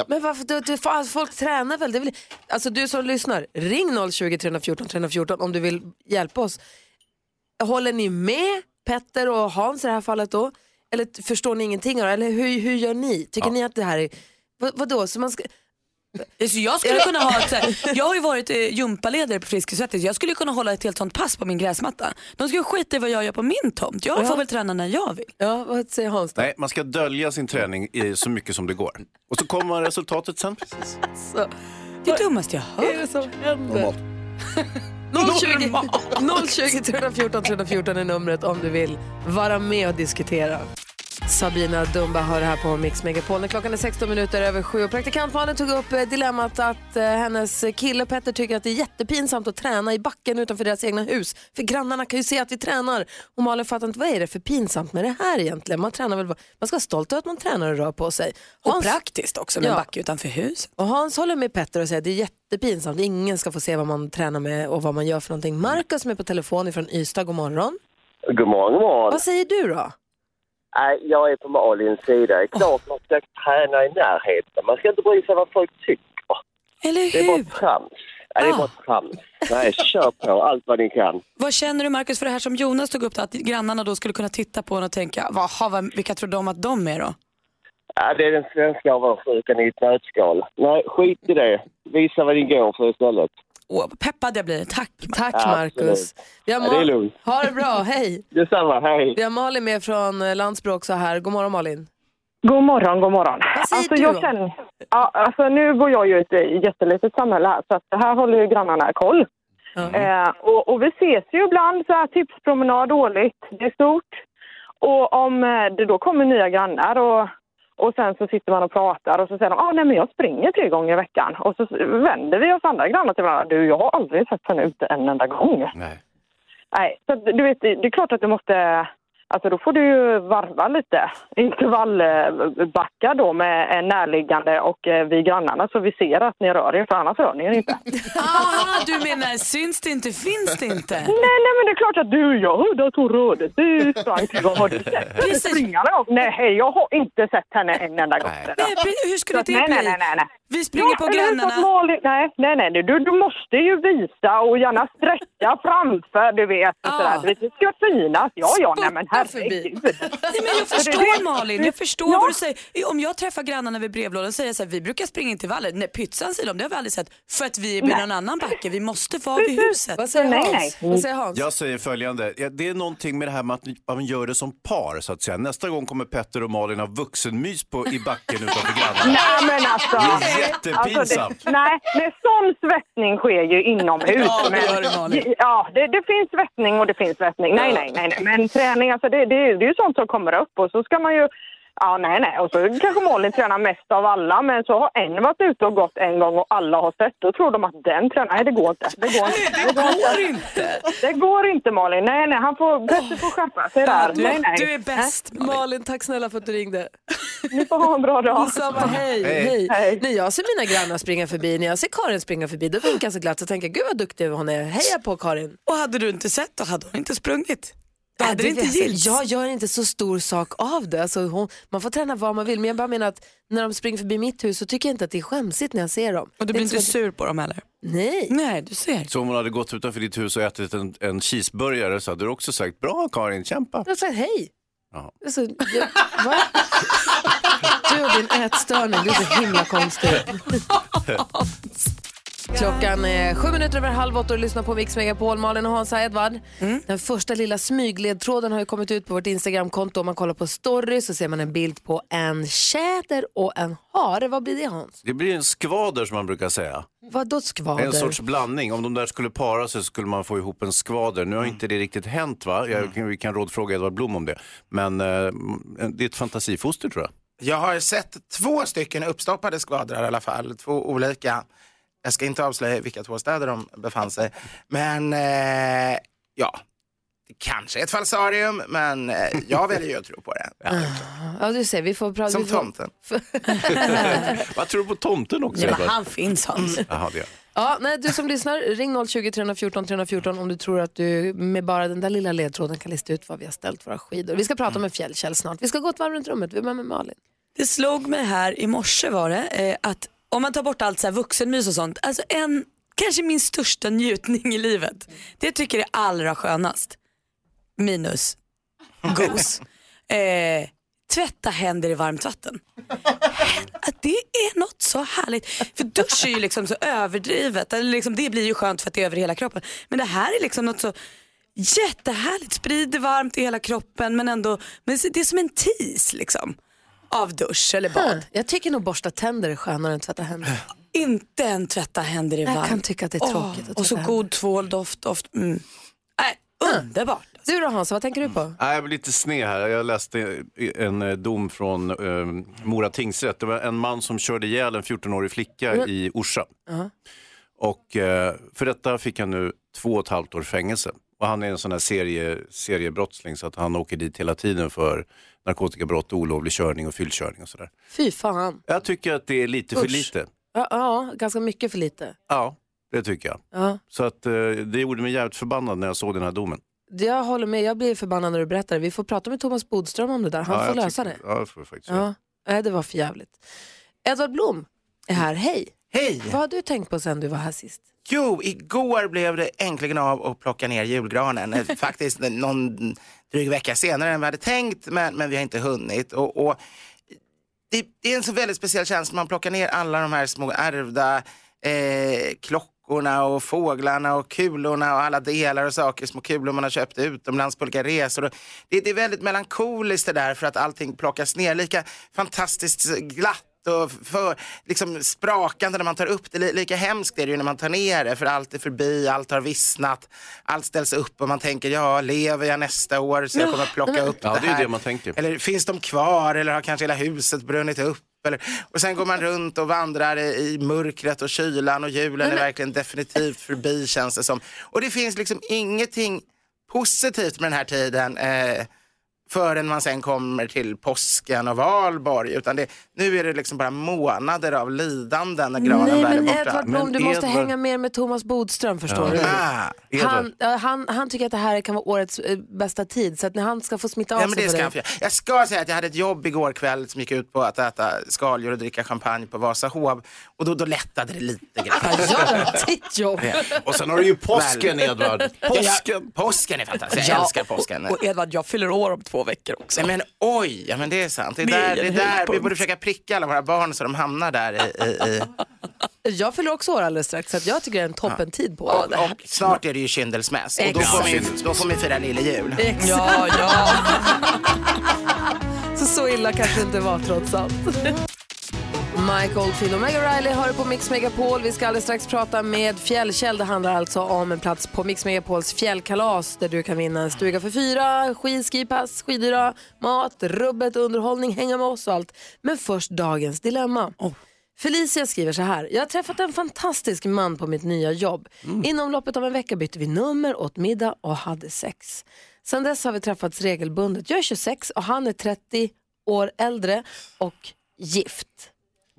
Men varför, du, du, får- alltså, folk tränar väl? Det är väl? Alltså du som lyssnar, ring 020 314 314 om du vill hjälpa oss. Håller ni med Petter och Hans i det här fallet då? Eller t- förstår ni ingenting? av det? Eller hur, hur gör ni? Tycker ni att det här är... Vad, vadå? Så man ska...
Så jag skulle kunna ha ett, så här, jag har ju varit eh, gympaledare på Friskis och Svettis. jag skulle kunna hålla ett helt sånt pass på min gräsmatta. De ska ju skita i vad jag gör på min tomt, jag får väl träna när jag vill.
Ja, vad säger Hans
Nej, man ska dölja sin träning i så mycket som det går. Och så kommer resultatet sen. Precis.
Det är dummaste jag har
Vad är det som händer?
Mm.
020, 020 314 314 är numret om du vill vara med och diskutera. Sabina Dumba hör här på Mix Megapol. När Klockan är 16 minuter över sju och praktikant Malin tog upp eh, dilemmat att eh, hennes kille Petter tycker att det är jättepinsamt att träna i backen utanför deras egna hus. För grannarna kan ju se att vi tränar. Och Malin fattar inte, vad är det för pinsamt med det här egentligen? Man tränar väl, man ska vara stolt över att man tränar och rör på sig.
Och praktiskt också med en backe utanför huset.
Och Hans håller med Petter och säger att det är jättepinsamt. Ingen ska få se vad man tränar med och vad man gör för någonting. Markus som är på telefon ifrån Ystad, god morgon.
God morgon, god morgon.
Vad säger du då?
Nej, jag är på Malins sida. Det är klart man ska träna i närheten. Man ska inte bry sig vad folk tycker.
Eller hur?
Det är bara trams. Nej, det är bara trams. Nej, kör på allt vad ni kan.
Vad känner du Markus för det här som Jonas tog upp, då, att grannarna då skulle kunna titta på en och tänka, "Jaha, vad- vilka tror de att de är då?
Ja, det är den svenska avundsjukan i ett nötskal. Nej, skit i det. Visa vad ni går för istället.
Åh, vad peppad jag blir. Tack Markus.
Tack
Ja,
Markus.
absolut.
Vi har
Ja, det är
Ma-
lugnt.
Ha det bra, hej.
Detsamma, hej.
Vi har Malin med från eh, Landsbro också här. God morgon Malin.
God morgon, god morgon.
Vad säger
alltså,
du
jag
då?
känner, ja, alltså, nu bor jag ju i ett jättelitet samhälle här, så att det här håller ju grannarna koll. Eh, och, och vi ses ju ibland, så här tipspromenad årligt, det är stort. Och om eh, det då kommer nya grannar och, och sen så sitter man och pratar och så säger de ah, nej men jag springer tre gånger i veckan. Och så s- vänder vi oss andra grannar till varandra. Du, jag har aldrig sett henne ute en enda gång.
Nej.
Nej, så att, du vet, det det är klart att du måste... Alltså då får du ju varva lite. Intervallbacka då med en närliggande och eh, vi grannarna så vi ser att ni rör er, för annars rör ni er inte.
Aha, du menar syns det inte, finns det inte?
nej, nej, men det är klart att du, jag hörde att hon rörde Du sprang till, vad har du sett? Precis. Springa någon gång? Nej, jag har inte sett henne en enda gång.
Nej, pre- hur skulle
Så att
det
nej,
bli?
Nej, nej, nej, nej.
Vi springer på
eller hur? Så att
grannarna.
Malin- Nej, nej, nej, nej. Du, du måste ju visa och gärna sträcka framför, du vet.
Ah.
Och sådär. Du vet, Det ska synas. Ja, ja, nej, men herregud.
Nej, men jag förstår Malin, jag förstår vad du säger. Om jag träffar grannarna vid brevlådan säger jag så här, vi brukar springa intervaller. Nej, pytsan säger de, det har vi aldrig sett. För att vi är vid
Nej.
någon annan backe, vi måste vara vid
Precis.
huset.
Vad säger Nej, Hans? nej. Vad säger
Jag säger följande. Ja, Det är någonting med det här med att man gör det som par så att säga. Nästa gång kommer Petter och Malin ha vuxenmys på, i backen utanför grannarna.
Nej men alltså.
Det är jättepinsamt.
Alltså, det, nej, men sån svettning sker ju inomhus.
Ja, det
men-
gör det, Malin.
Ja, det, det finns svettning och det finns svettning. Nej, nej, nej, nej. Men träning, alltså det, det, är- det är ju sånt som kommer upp och så ska man ju Ja, nej, nej. Och så kanske Malin tränar mest av alla, men så har en varit ute och gått en gång och alla har sett. Då tror de att den tränar. Nej, det går inte. Det går inte. Det går inte. Det går inte, Malin. Nej, nej. Han får, Petter får skärpa sig där. Nej, nej.
Äh? Malin. tack snälla för att du ringde.
Ni får ha en bra dag.
Detsamma, hej, hej. När jag ser mina grannar springa förbi, när jag ser Karin springa förbi, då vinkar jag så glatt och tänker jag, gud vad duktig hon är. Heja på Karin.
Och hade du inte sett då hade hon inte sprungit. Då hade det
Ja,
inte
vet jag.
gillts.
Jag gör inte så stor sak av det. Alltså, hon, man får träna vad man vill, men jag bara menar att när de springer förbi mitt hus så tycker jag inte att det är skämsigt när jag ser dem.
Och du blir inte sur på dem heller?
Nej.
Nej, du ser.
Så om hon hade gått utanför ditt hus och ätit en, en cheeseburgare så hade du också sagt bra Karin, kämpa.
Jag säger hej.
Ja.
Alltså, jag, va? Du och din ätstörning, du är så himla konstig. Klockan är sju minuter över halv åtta och du lyssnar på Mix Megapol. Malin och Hansa Edvard.
Mm.
Den första lilla smygledtråden har ju kommit ut på vårt Instagramkonto. Om man kollar på story så ser man en bild på en tjäder och en hare. Vad blir det Hans?
Det blir en skvader som man brukar säga.
Vadå skvader?
En sorts blandning. Om de där skulle para sig så skulle man få ihop en skvader. Nu har inte det riktigt hänt va?
Mm.
Jag, Vi kan rådfråga Edvard Blom om det. Men eh, det är ett fantasifoster tror jag.
Jag har sett två stycken uppstoppade skvadrar i alla fall, två olika. Jag ska inte avslöja vilka två städer de befann sig, men eh, ja, det kanske är ett falsarium, men eh, jag väljer ju att tro på det.
Ja, du ser, vi får prata.
Som
vi får...
tomten.
Vad tror du på tomten också?
Nej, men
Edvard?
han finns, han.
Jaha, det gör.
Ja, nej, du som lyssnar, ring 020 314 314 om du tror att du med bara den där lilla ledtråden kan lista ut vad vi har ställt våra skidor. Vi ska prata om en fjällkäll snart. Vi ska gå ett varv runt rummet. Vi börjar med Malin.
Det slog mig här i morse var det, eh, att om man tar bort allt så här vuxenmys och sånt, alltså en, kanske min största njutning i livet, det jag tycker är allra skönast, minus gos, eh, tvätta händer i varmt vatten. Att det är något så härligt, för dusch är ju liksom så överdrivet, eller liksom, det blir ju skönt för att det är över hela kroppen, men det här är liksom något så jättehärligt, sprider varmt i hela kroppen men ändå, men det är som en tis liksom av dusch eller bad.
Jag tycker nog borsta tänder är skönare än tvätta händer.
Inte en tvätta händer i
Jag
varmt.
kan tycka att det är
Åh,
tråkigt att typ
och så
tvätta
god tvåldoft. Oft, mm. äh, underbart.
Du då Hans, vad tänker du på?
Nej, jag blir lite sned här. Jag läste en eh, dom från eh, Mora tingsrätt. Det var en man som körde ihjäl en 14-årig flicka
Mm.
i Orsa.
Ja.
Och eh, för detta fick han nu två och ett halvt år fängelse. Och han är en sån här serie, seriebrottsling så att han åker dit hela tiden för narkotikabrott, olovlig körning och fyllkörning och sådär.
Fy fan.
Jag tycker att det är lite för
Usch.
lite.
Ja, ja, ganska mycket för lite.
Ja, det tycker jag.
Ja.
Så att eh, det gjorde mig jävligt förbannad när jag såg den här domen.
Jag håller med, jag blir förbannad när du berättar det. Vi får prata med Thomas Bodström om det där. Han
ja,
får
jag
lösa
tycker-
det.
Ja, det får vi faktiskt göra.
Ja. Nej, det var för jävligt. Edvard Blom är här, hej.
Hej!
Vad har du tänkt på sen du var här sist?
Jo, igår blev det äntligen av att plocka ner julgranen. Eh, Faktiskt någon dryg vecka senare än vi hade tänkt, men, men vi har inte hunnit. Och, och det, det är en så väldigt speciell känsla, man plockar ner alla de här små ärvda eh, klockorna och fåglarna och kulorna och alla delar och saker, små kulor man har köpt utomlands på olika resor. Och Det, det är väldigt melankoliskt det där för att allting plockas ner, lika fantastiskt glatt och för, liksom sprakande när man tar upp det. Li- Lika hemskt är det ju när man tar ner det för allt är förbi, allt har vissnat, allt ställs upp och man tänker ja, lever jag nästa år så jag kommer att plocka upp
Ja,
det
det är
här.
det man tänker.
Eller finns de kvar eller har kanske hela huset brunnit upp? Eller, och sen går man runt och vandrar i, i mörkret och kylan och julen är verkligen definitivt förbi känns det som. Och det finns liksom ingenting positivt med den här tiden eh, förrän man sen kommer till påsken och valborg. Utan det, nu är det liksom bara månader av lidande när granen
Nej,
väl är
men eh,
borta.
Edvard Blom, du måste hänga mer med Thomas Bodström förstår du.
Ja. Ah,
Han, ja, han, han tycker att det här kan vara årets eh, bästa tid, så att när han ska få smitta av
Ja,
sig
men det
på
ska
dig.
han få göra. Jag ska säga att jag hade ett jobb igår kväll som gick ut på att äta skaldjur och dricka champagne på Vasahov och då, då lättade det lite grann.
Ja, ditt jobb.
Och sen har du ju påsken, Edvard.
Påsken. påsken är fantastisk. Jag
Ja,
älskar påsken.
Och, och Edvard, jag fyller år om två veckor också.
Nej, men oj, ja, men det är sant. Det är
Det är
där, det är
en
där vi
höjdpunkt.
borde försöka pricka alla våra barn så de hamnar där i... i, i.
Jag fyller också år alldeles strax, så att jag tycker det är en toppen tid på det här.
Och snart är det ju kyndelsmäss och då får,
Exakt.
vi, då får vi fira lille jul.
Exakt. Ja, Så, så illa kanske det inte var trots allt. Mike Oldfield och Meg Riley har det på Mix Megapol. Vi ska alldeles strax prata med Fjällkäll. Det handlar alltså om en plats på Mix Megapols fjällkalas där du kan vinna en stuga för fyra, skid, skipass, skidyra, mat, rubbet, underhållning, hänga med oss och allt. Men först dagens dilemma. Felicia skriver så här. Jag har träffat en fantastisk man på mitt nya jobb. Inom loppet av en vecka bytte vi nummer, åt middag och hade sex. Sedan dess har vi träffats regelbundet. Jag är 26 och han är 30 år äldre och gift.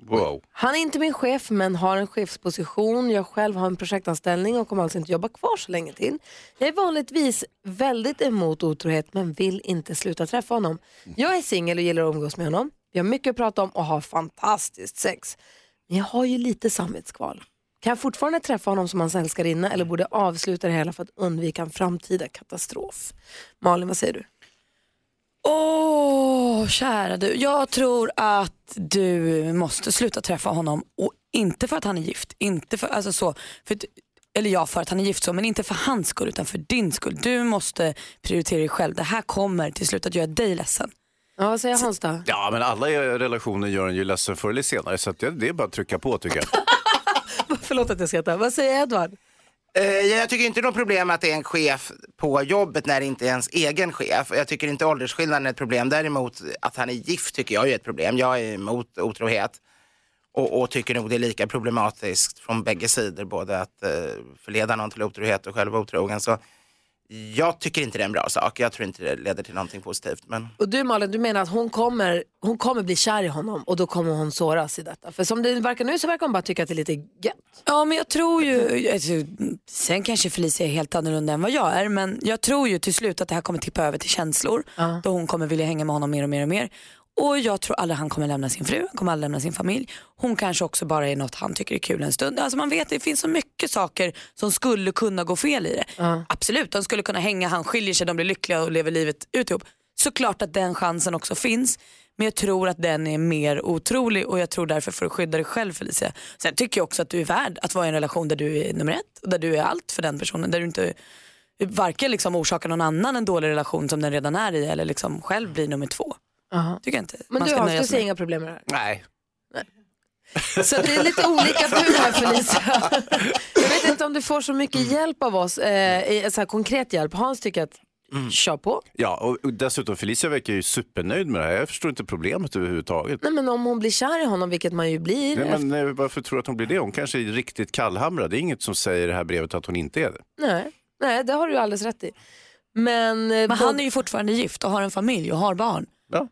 Wow.
Han är inte min chef men har en chefsposition. Jag själv har en projektanställning och kommer alltså inte jobba kvar så länge till. Jag är vanligtvis väldigt emot otrohet men vill inte sluta träffa honom. Jag är singel och gillar att umgås med honom. Vi har mycket att prata om och har fantastiskt sex. Men jag har ju lite samvetskval. Kan jag fortfarande träffa honom som hans älskarinna eller borde jag avsluta det hela för att undvika en framtida katastrof? Malin, vad säger du?
Åh, kära du. Jag tror att du måste sluta träffa honom och inte för att han är gift, inte för, alltså så, för, att- eller ja för att han är gift så, men inte för hans skull utan för din skull. Du måste prioritera dig själv. Det här kommer till slut att göra dig ledsen.
Ja, vad säger Hans då?
Ja, men alla relationer gör en ju ledsen förr eller senare, så att det, det är bara att trycka på tycker jag.
Förlåt att jag skrattar. Vad säger Edvard?
Eh, Jag tycker inte det är något problem att det är en chef på jobbet när det inte är ens egen chef. Jag tycker inte åldersskillnaden är ett problem. Däremot att han är gift tycker jag är ett problem. Jag är emot otrohet och, och tycker nog det är lika problematiskt från bägge sidor. Både att eh, förleda någon till otrohet och själv vara otrogen. Så jag tycker inte det är en bra sak. Jag tror inte det leder till någonting positivt. Men...
Och du Malin, du menar att hon kommer, hon kommer bli kär i honom och då kommer hon såras i detta. För som det verkar nu så verkar hon bara tycka att det är lite gött.
Ja men jag tror ju, alltså, sen kanske Felicia är helt annorlunda än vad jag är, men jag tror ju till slut att det här kommer tippa över till känslor då hon kommer vilja hänga med honom mer och mer och mer. Och jag tror aldrig han kommer lämna sin fru, han kommer aldrig lämna sin familj. Hon kanske också bara är något han tycker är kul en stund. Alltså man vet, det finns så mycket saker som skulle kunna gå fel i det. Absolut, de skulle kunna hänga, han skiljer sig, de blir lyckliga och lever livet ut ihop. Såklart att den chansen också finns. Men jag tror att den är mer otrolig och jag tror därför för att skydda dig själv Felicia. Sen tycker jag också att du är värd att vara i en relation där du är nummer ett och där du är allt för den personen. Där du inte varken liksom orsakar någon annan en dålig relation som den redan är i eller liksom själv blir nummer två. Tycker jag inte.
Men
Man
du
ska
Hans,
nöja
du
sig
ser
med-
inga problem med det här.
Nej.
Så det är lite olika bud här Felicia. Jag vet inte om du får så mycket hjälp av oss, eh, i- så här konkret hjälp. Hans tycker att, kör på.
Mm. Ja, och dessutom Felicia verkar ju supernöjd med det här. Jag förstår inte problemet överhuvudtaget.
Nej men om hon blir kär i honom, vilket man ju blir.
Nej,
efter-
men, eh, varför tror du att hon blir det? Hon kanske är riktigt kallhamrad. Det är inget som säger i det här brevet att hon inte är det.
nej, nej, det har du alldeles rätt i. Men, eh,
Men han är ju fortfarande gift och har en familj och har barn.
Ja.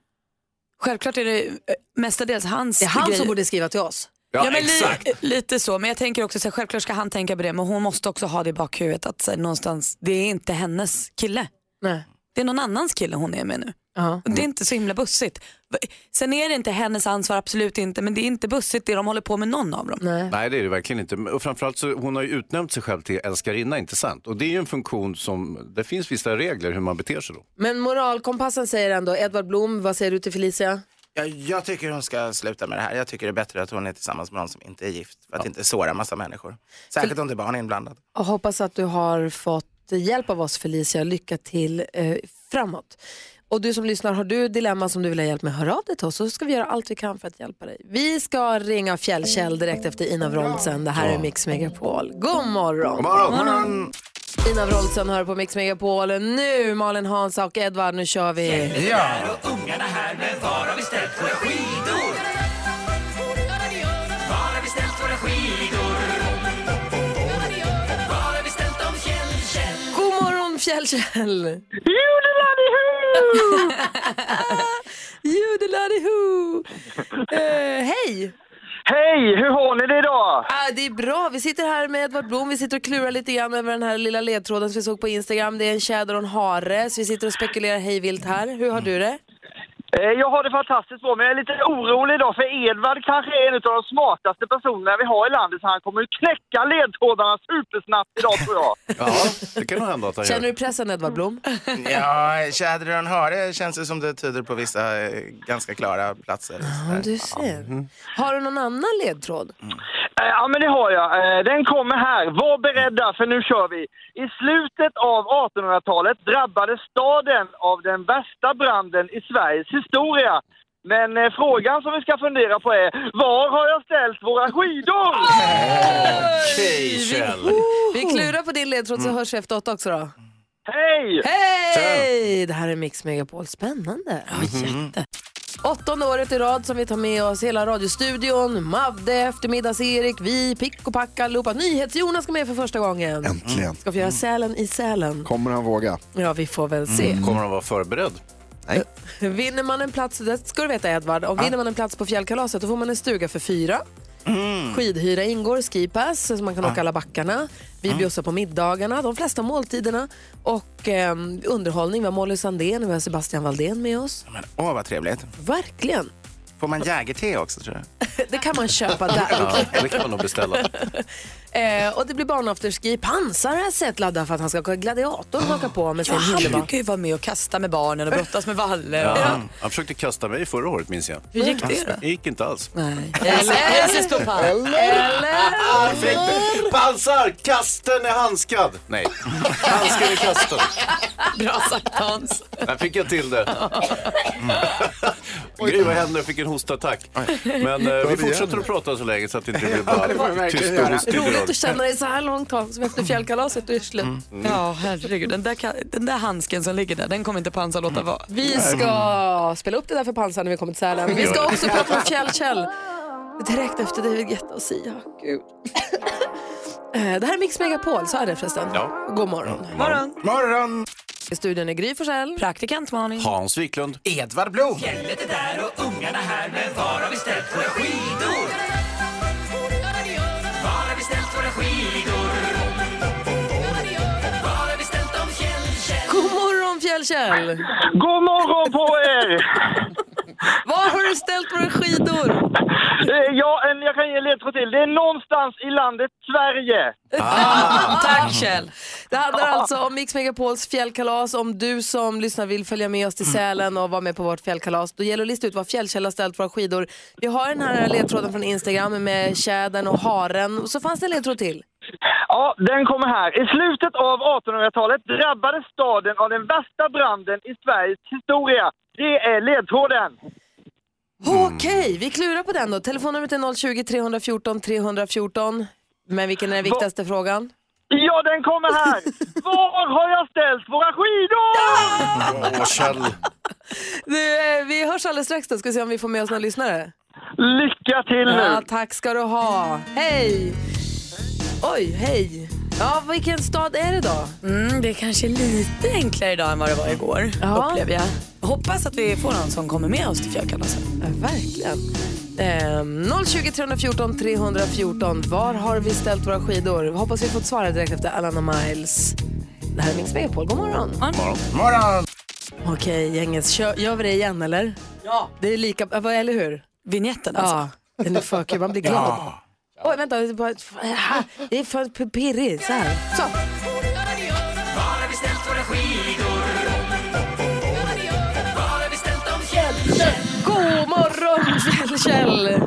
Självklart är det eh, mestadels hans
Det är han
grej.
som borde skriva till oss.
Ja, men li- eh, lite så, men jag tänker också så här, självklart ska han tänka på det men hon måste också ha det i bakhuvudet att så här, någonstans, det är inte hennes kille.
Nej.
Det är någon annans kille hon är med nu.
Ja.
Och det är inte så himla bussigt. Va- Sen är det inte hennes ansvar, absolut inte, men det är inte bussigt det de håller på med någon av dem.
Nej, det är det verkligen inte. Men- Och framförallt så hon har ju utnämnt sig själv till älskarinna, inte sant? Och det är ju en funktion som, det finns vissa regler hur man beter sig då.
Men moralkompassen säger ändå, Edvard Blom, vad säger du till Felicia?
Jag, jag tycker hon ska sluta med det här. Jag tycker det är bättre att hon är tillsammans med någon som inte är gift. För att inte såra massa människor. Särskilt om det är barn inblandade.
Och hoppas att du har fått hjälp av oss Felicia. Lycka till eh, framåt. Och du som lyssnar, har du dilemma som du vill ha hjälp med, hör av dig till oss så ska vi göra allt vi kan för att hjälpa dig. Vi ska ringa Fjällkäll direkt efter Ina Wroldsen. Det här är Mix Megapol. God morgon!
God morgon. God
Ina Wroldsen hör på Mix Megapol. Nu Malin, Hansa och Edvard, nu kör vi!
och ungarna här, men var har vi ställt våra skidor? Var har vi ställt våra skidor? Var har vi ställt dem fjällkäll?
God morgon Fjällkäll!
Judeladihu!
Judeladihu! Eh, hej!
Hej, hur har ni det idag?
Ah, det är bra. Vi sitter här med Edvard Blom. Vi sitter och klurar lite grann över den här lilla ledtråden som vi såg på Instagram. Det är en tjäder och en hare, så vi sitter och spekulerar hejvilt här. Hur har du det?
Eh, Jag har det fantastiskt bra, men jag är lite orolig idag för Edvard kanske är en av de smartaste personerna vi har i landet så han kommer ju knäcka ledtrådarna supersnabbt idag tror jag.
Ja, det kan nog hända
Mm.
att han
Känner du pressen Edvard Blom?
Ja, tjäder och en hare känns det som det tyder på vissa eh, ganska klara platser.
Ja, du ser. Har du någon annan ledtråd?
Eh, Ja men det har jag. Eh, Den kommer här. Var beredda för nu kör vi. I slutet av 1800-talet drabbades staden av den värsta branden i Sveriges historia. Men eh, frågan som vi ska fundera på är, var har jag ställt våra skidor?
Okej, Kjell.
Vi klurar på din ledtråd så hörs vi efter åtta också då.
Hej!
Hej! Det här är Mix Megapol. Spännande. Åttonde året i rad som vi tar med oss hela radiostudion, Madde, eftermiddags-Erik, vi, Pick och Pack allihopa. NyhetsJonas ska med för första gången.
Mm.
Äntligen.
Ska få göra Sälen i Sälen.
Kommer han våga?
Ja, vi får väl se.
Mm.
Eh,
Kommer han vara förberedd?
Nej.
Vinner man en plats, det ska du veta Edvard, om vinner man en plats på fjällkalaset då får man en stuga för fyra. Skidhyra ingår, skipass, så man kan åka alla backarna. Vi bjussar på middagarna, de flesta måltiderna. Och eh, underhållning, vi har Molly Sandén och vi har Sebastian Valdén med oss.
Åh, vad trevligt.
Verkligen.
Får man jägerte också tror jag?
Det kan man köpa där.
Ja, det kan man nog beställa.
Eh, och det blir barnafterski. Pansar har jag sett ladda för att han ska ha gladiator och haka på med sin
Ja, han
Hildebrand.
brukar ju vara med och kasta med barnen och brottas med Valle.
Ja,
Ja.
han, han försökte kasta mig förra året minns jag.
Hur gick det då?
Det gick inte alls.
Nej.
Eller?
Perfekt. Pansar, kasten är handskad. Nej, handsken är kasten.
Bra sagt Hans.
Där fick jag till det. Gry, vad hände? Jag fick en hostattack. Men eh, vi fortsätter att prata så länge så att det inte blir
Ja, det får vi
bara
verkligen
tyst och
göra.
hostig
Roligt att
idag.
känna dig så här långt Hans, som efter fjällkalaset. Du är slut.
Mm. Ja, herregud. Den där, ka- den där handsken som ligger där, den kommer inte Pansar låta vara.
Vi ska spela upp det där för pansar när vi kommer till Sälen. Vi ska också prata om Kjell Kjell. Direkt efter David Guetta och Sia. Gud. Eh, Det här är Mix Megapol, så är det förresten.
Ja.
God morgon.
Morgon.
Morgon.
I studion är Gry Forssell.
Praktikant Malin.
Hans Wiklund.
Edvard Blom.
Fjället är där och ungarna här men var har vi ställt våra skidor? Var har vi ställt våra skidor? Var har vi ställt dem fjäll, fjäll?
God morgon Fjällkäll!
God morgon på er!
Var har du ställt våra skidor?
Eh, Ja, en- jag kan ge en ledtråd till. Det är någonstans i landet Sverige.
Ah, Tack Kjell! Det handlar alltså om Mix Megapols fjällkalas. Om du som lyssnar vill följa med
Mm.
oss till Sälen och vara med på vårt fjällkalas, då gäller det att lista ut var Fjällkäll har ställt våra skidor. Vi har den här ledtråden från Instagram med tjädern och haren. Och så fanns det en ledtråd till.
Ja, den kommer här. I slutet av 1800-talet drabbades staden av den värsta branden i Sveriges historia. Det är ledtråden. Mm.
Okej, vi klurar på den då. Telefonnumret är 020-314 314. Men vilken är den viktigaste frågan?
Ja, den kommer här. Var har jag ställt våra skidor?
Åh, Kjell.
Du, eh, vi hörs alldeles strax då, ska se om vi får med oss några lyssnare.
Lycka till nu.
Ja, tack ska du ha. Hej! Oj, hej. Ja, vilken stad är det då?
Mm, det är kanske lite enklare idag än vad det var igår,
Ja.
upplever jag. Hoppas att vi får någon som kommer med oss till fjällkalaset.
alltså. Ja, verkligen. Ehm, 020 314 314. Var har vi ställt våra skidor? Hoppas vi fått svara direkt efter Alana Miles. Det här är Mix Megapol. God morgon.
Morgon. Morgon.
Okej, gänget. Kör, gör vi det igen, eller? Ja. Det är lika, ja, vad- eller hur?
Vinjetten
alltså. Ja, den är för kul. Man blir glad.
Ja.
Oj, vänta. Det är, bara, det är för pirrig. Så här. Så.
Var har vi ställt våra skidor? Var har vi ställt dem fjäll, fjäll?
God morgon, Kjell Kjell!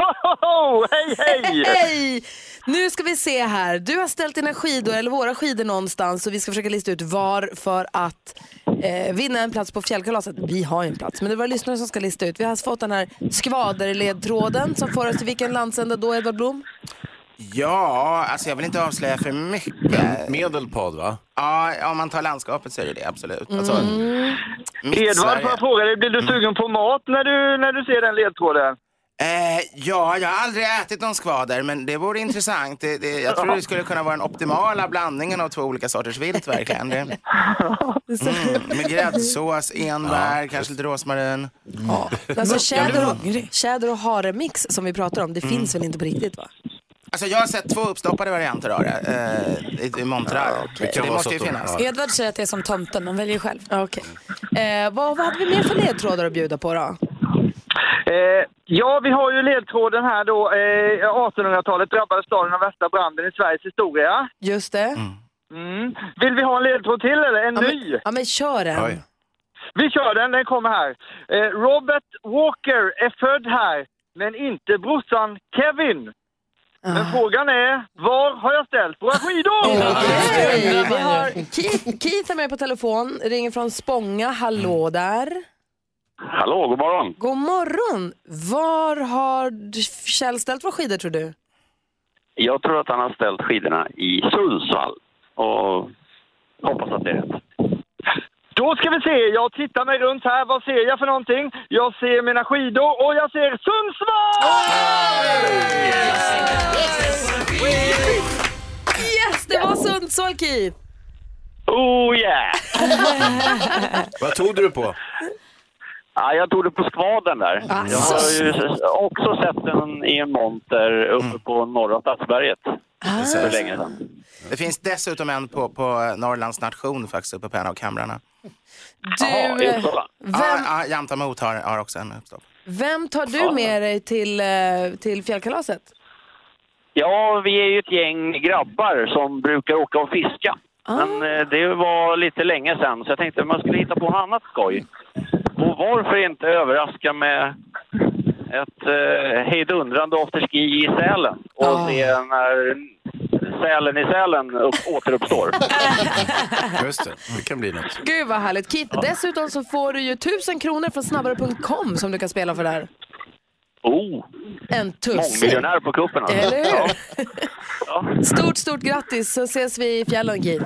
Hej, hej!
Hej! Nu ska vi se här. Du har ställt dina skidor, eller våra skidor någonstans och vi ska försöka lista ut var för att eh, vinna en plats på fjällkalaset. Vi har ju en plats, men det är våra lyssnare som ska lista ut. Vi har fått den här skvaderledtråden som för oss till vilken landsända då, Edvard Blom?
Ja, alltså jag vill inte avslöja för mycket.
Medelpad va?
Ja, om man tar landskapet så är det det absolut. Alltså,
Mm.
Edvard, får jag fråga dig, blir du sugen på mat när du, när du ser den ledtråden?
Eh, ja, jag har aldrig ätit någon skvader, men det vore intressant. Det, det, jag tror det skulle kunna vara den optimala blandningen av två olika sorters vilt, verkligen. Det, mm, med gräddsås, enbär, kanske lite rosmarin.
Mm.
Alltså
Jag blir
tjäder och, tjäder och haremix som vi pratar om, det
Mm.
finns väl inte på riktigt va?
Alltså jag har sett två uppstoppade varianter av det eh, i- i montrar.
det
det
kan vara så
måste ju
att de-
finnas.
Edvard säger att det är som tomten, man väljer själv.
Okej. Eh, vad, vad hade vi mer för ledtrådar att bjuda på då?
Eh, ja, vi har ju ledtråden här då. Eh, 1800-talet drabbades staden av värsta branden i Sveriges historia.
Just det.
Mm. Vill vi ha en ledtråd till eller en ny?
Ja men kör den.
Vi kör den, den kommer här. Eh, Robert Walker är född här, men inte brorsan Kevin. Men
Ah.
frågan är, var har jag ställt våra skidor?
Hej, vi har Keith, Keith är med på telefon, ringer från Spånga.
Mm.
Hallå där.
Hallå, god morgon.
God morgon. Var har d- Kjell ställt våra skidor tror du?
Jag tror att han har ställt skidorna i Sundsvall och hoppas att det är rätt.
Då ska vi se, jag tittar mig runt här, vad ser jag för någonting? Jag ser mina skidor och jag ser Sundsvall!
Yes, det var Sundsvall Keith.
Oh yeah!
Vad tog du det på?
Ja, jag tog det på skvaden där. Jag
Alltså.
har ju också sett den i en monter uppe på norra Stadsberget för länge sedan.
Det finns dessutom en på, på Norrlands nation faktiskt, uppe på en av kamrarna.
Du,
Ja, ja, Jämta Mot har, har också en uppstopp.
Vem tar du
Ja.
med dig till, eh, till fjällkalaset?
Ja, vi är ju ett gäng grabbar som brukar åka och fiska.
Ah.
Men eh, det var lite länge sedan så jag tänkte att man skulle hitta på något annat skoj. Och varför inte överraska med ett eh, hejdundrande afterski i Sälen och
Ah.
se när Sälen i Sälen upp, återuppstår.
Just det, det kan bli något.
Gud vad härligt. Kit, dessutom så får du ju 1000 kronor från snabbare.com som du kan spela för där.
Oh,
En tussing.
mångmiljonär på kuppen alltså.
Eller hur? Stort, stort grattis så ses vi i fjällen Kit.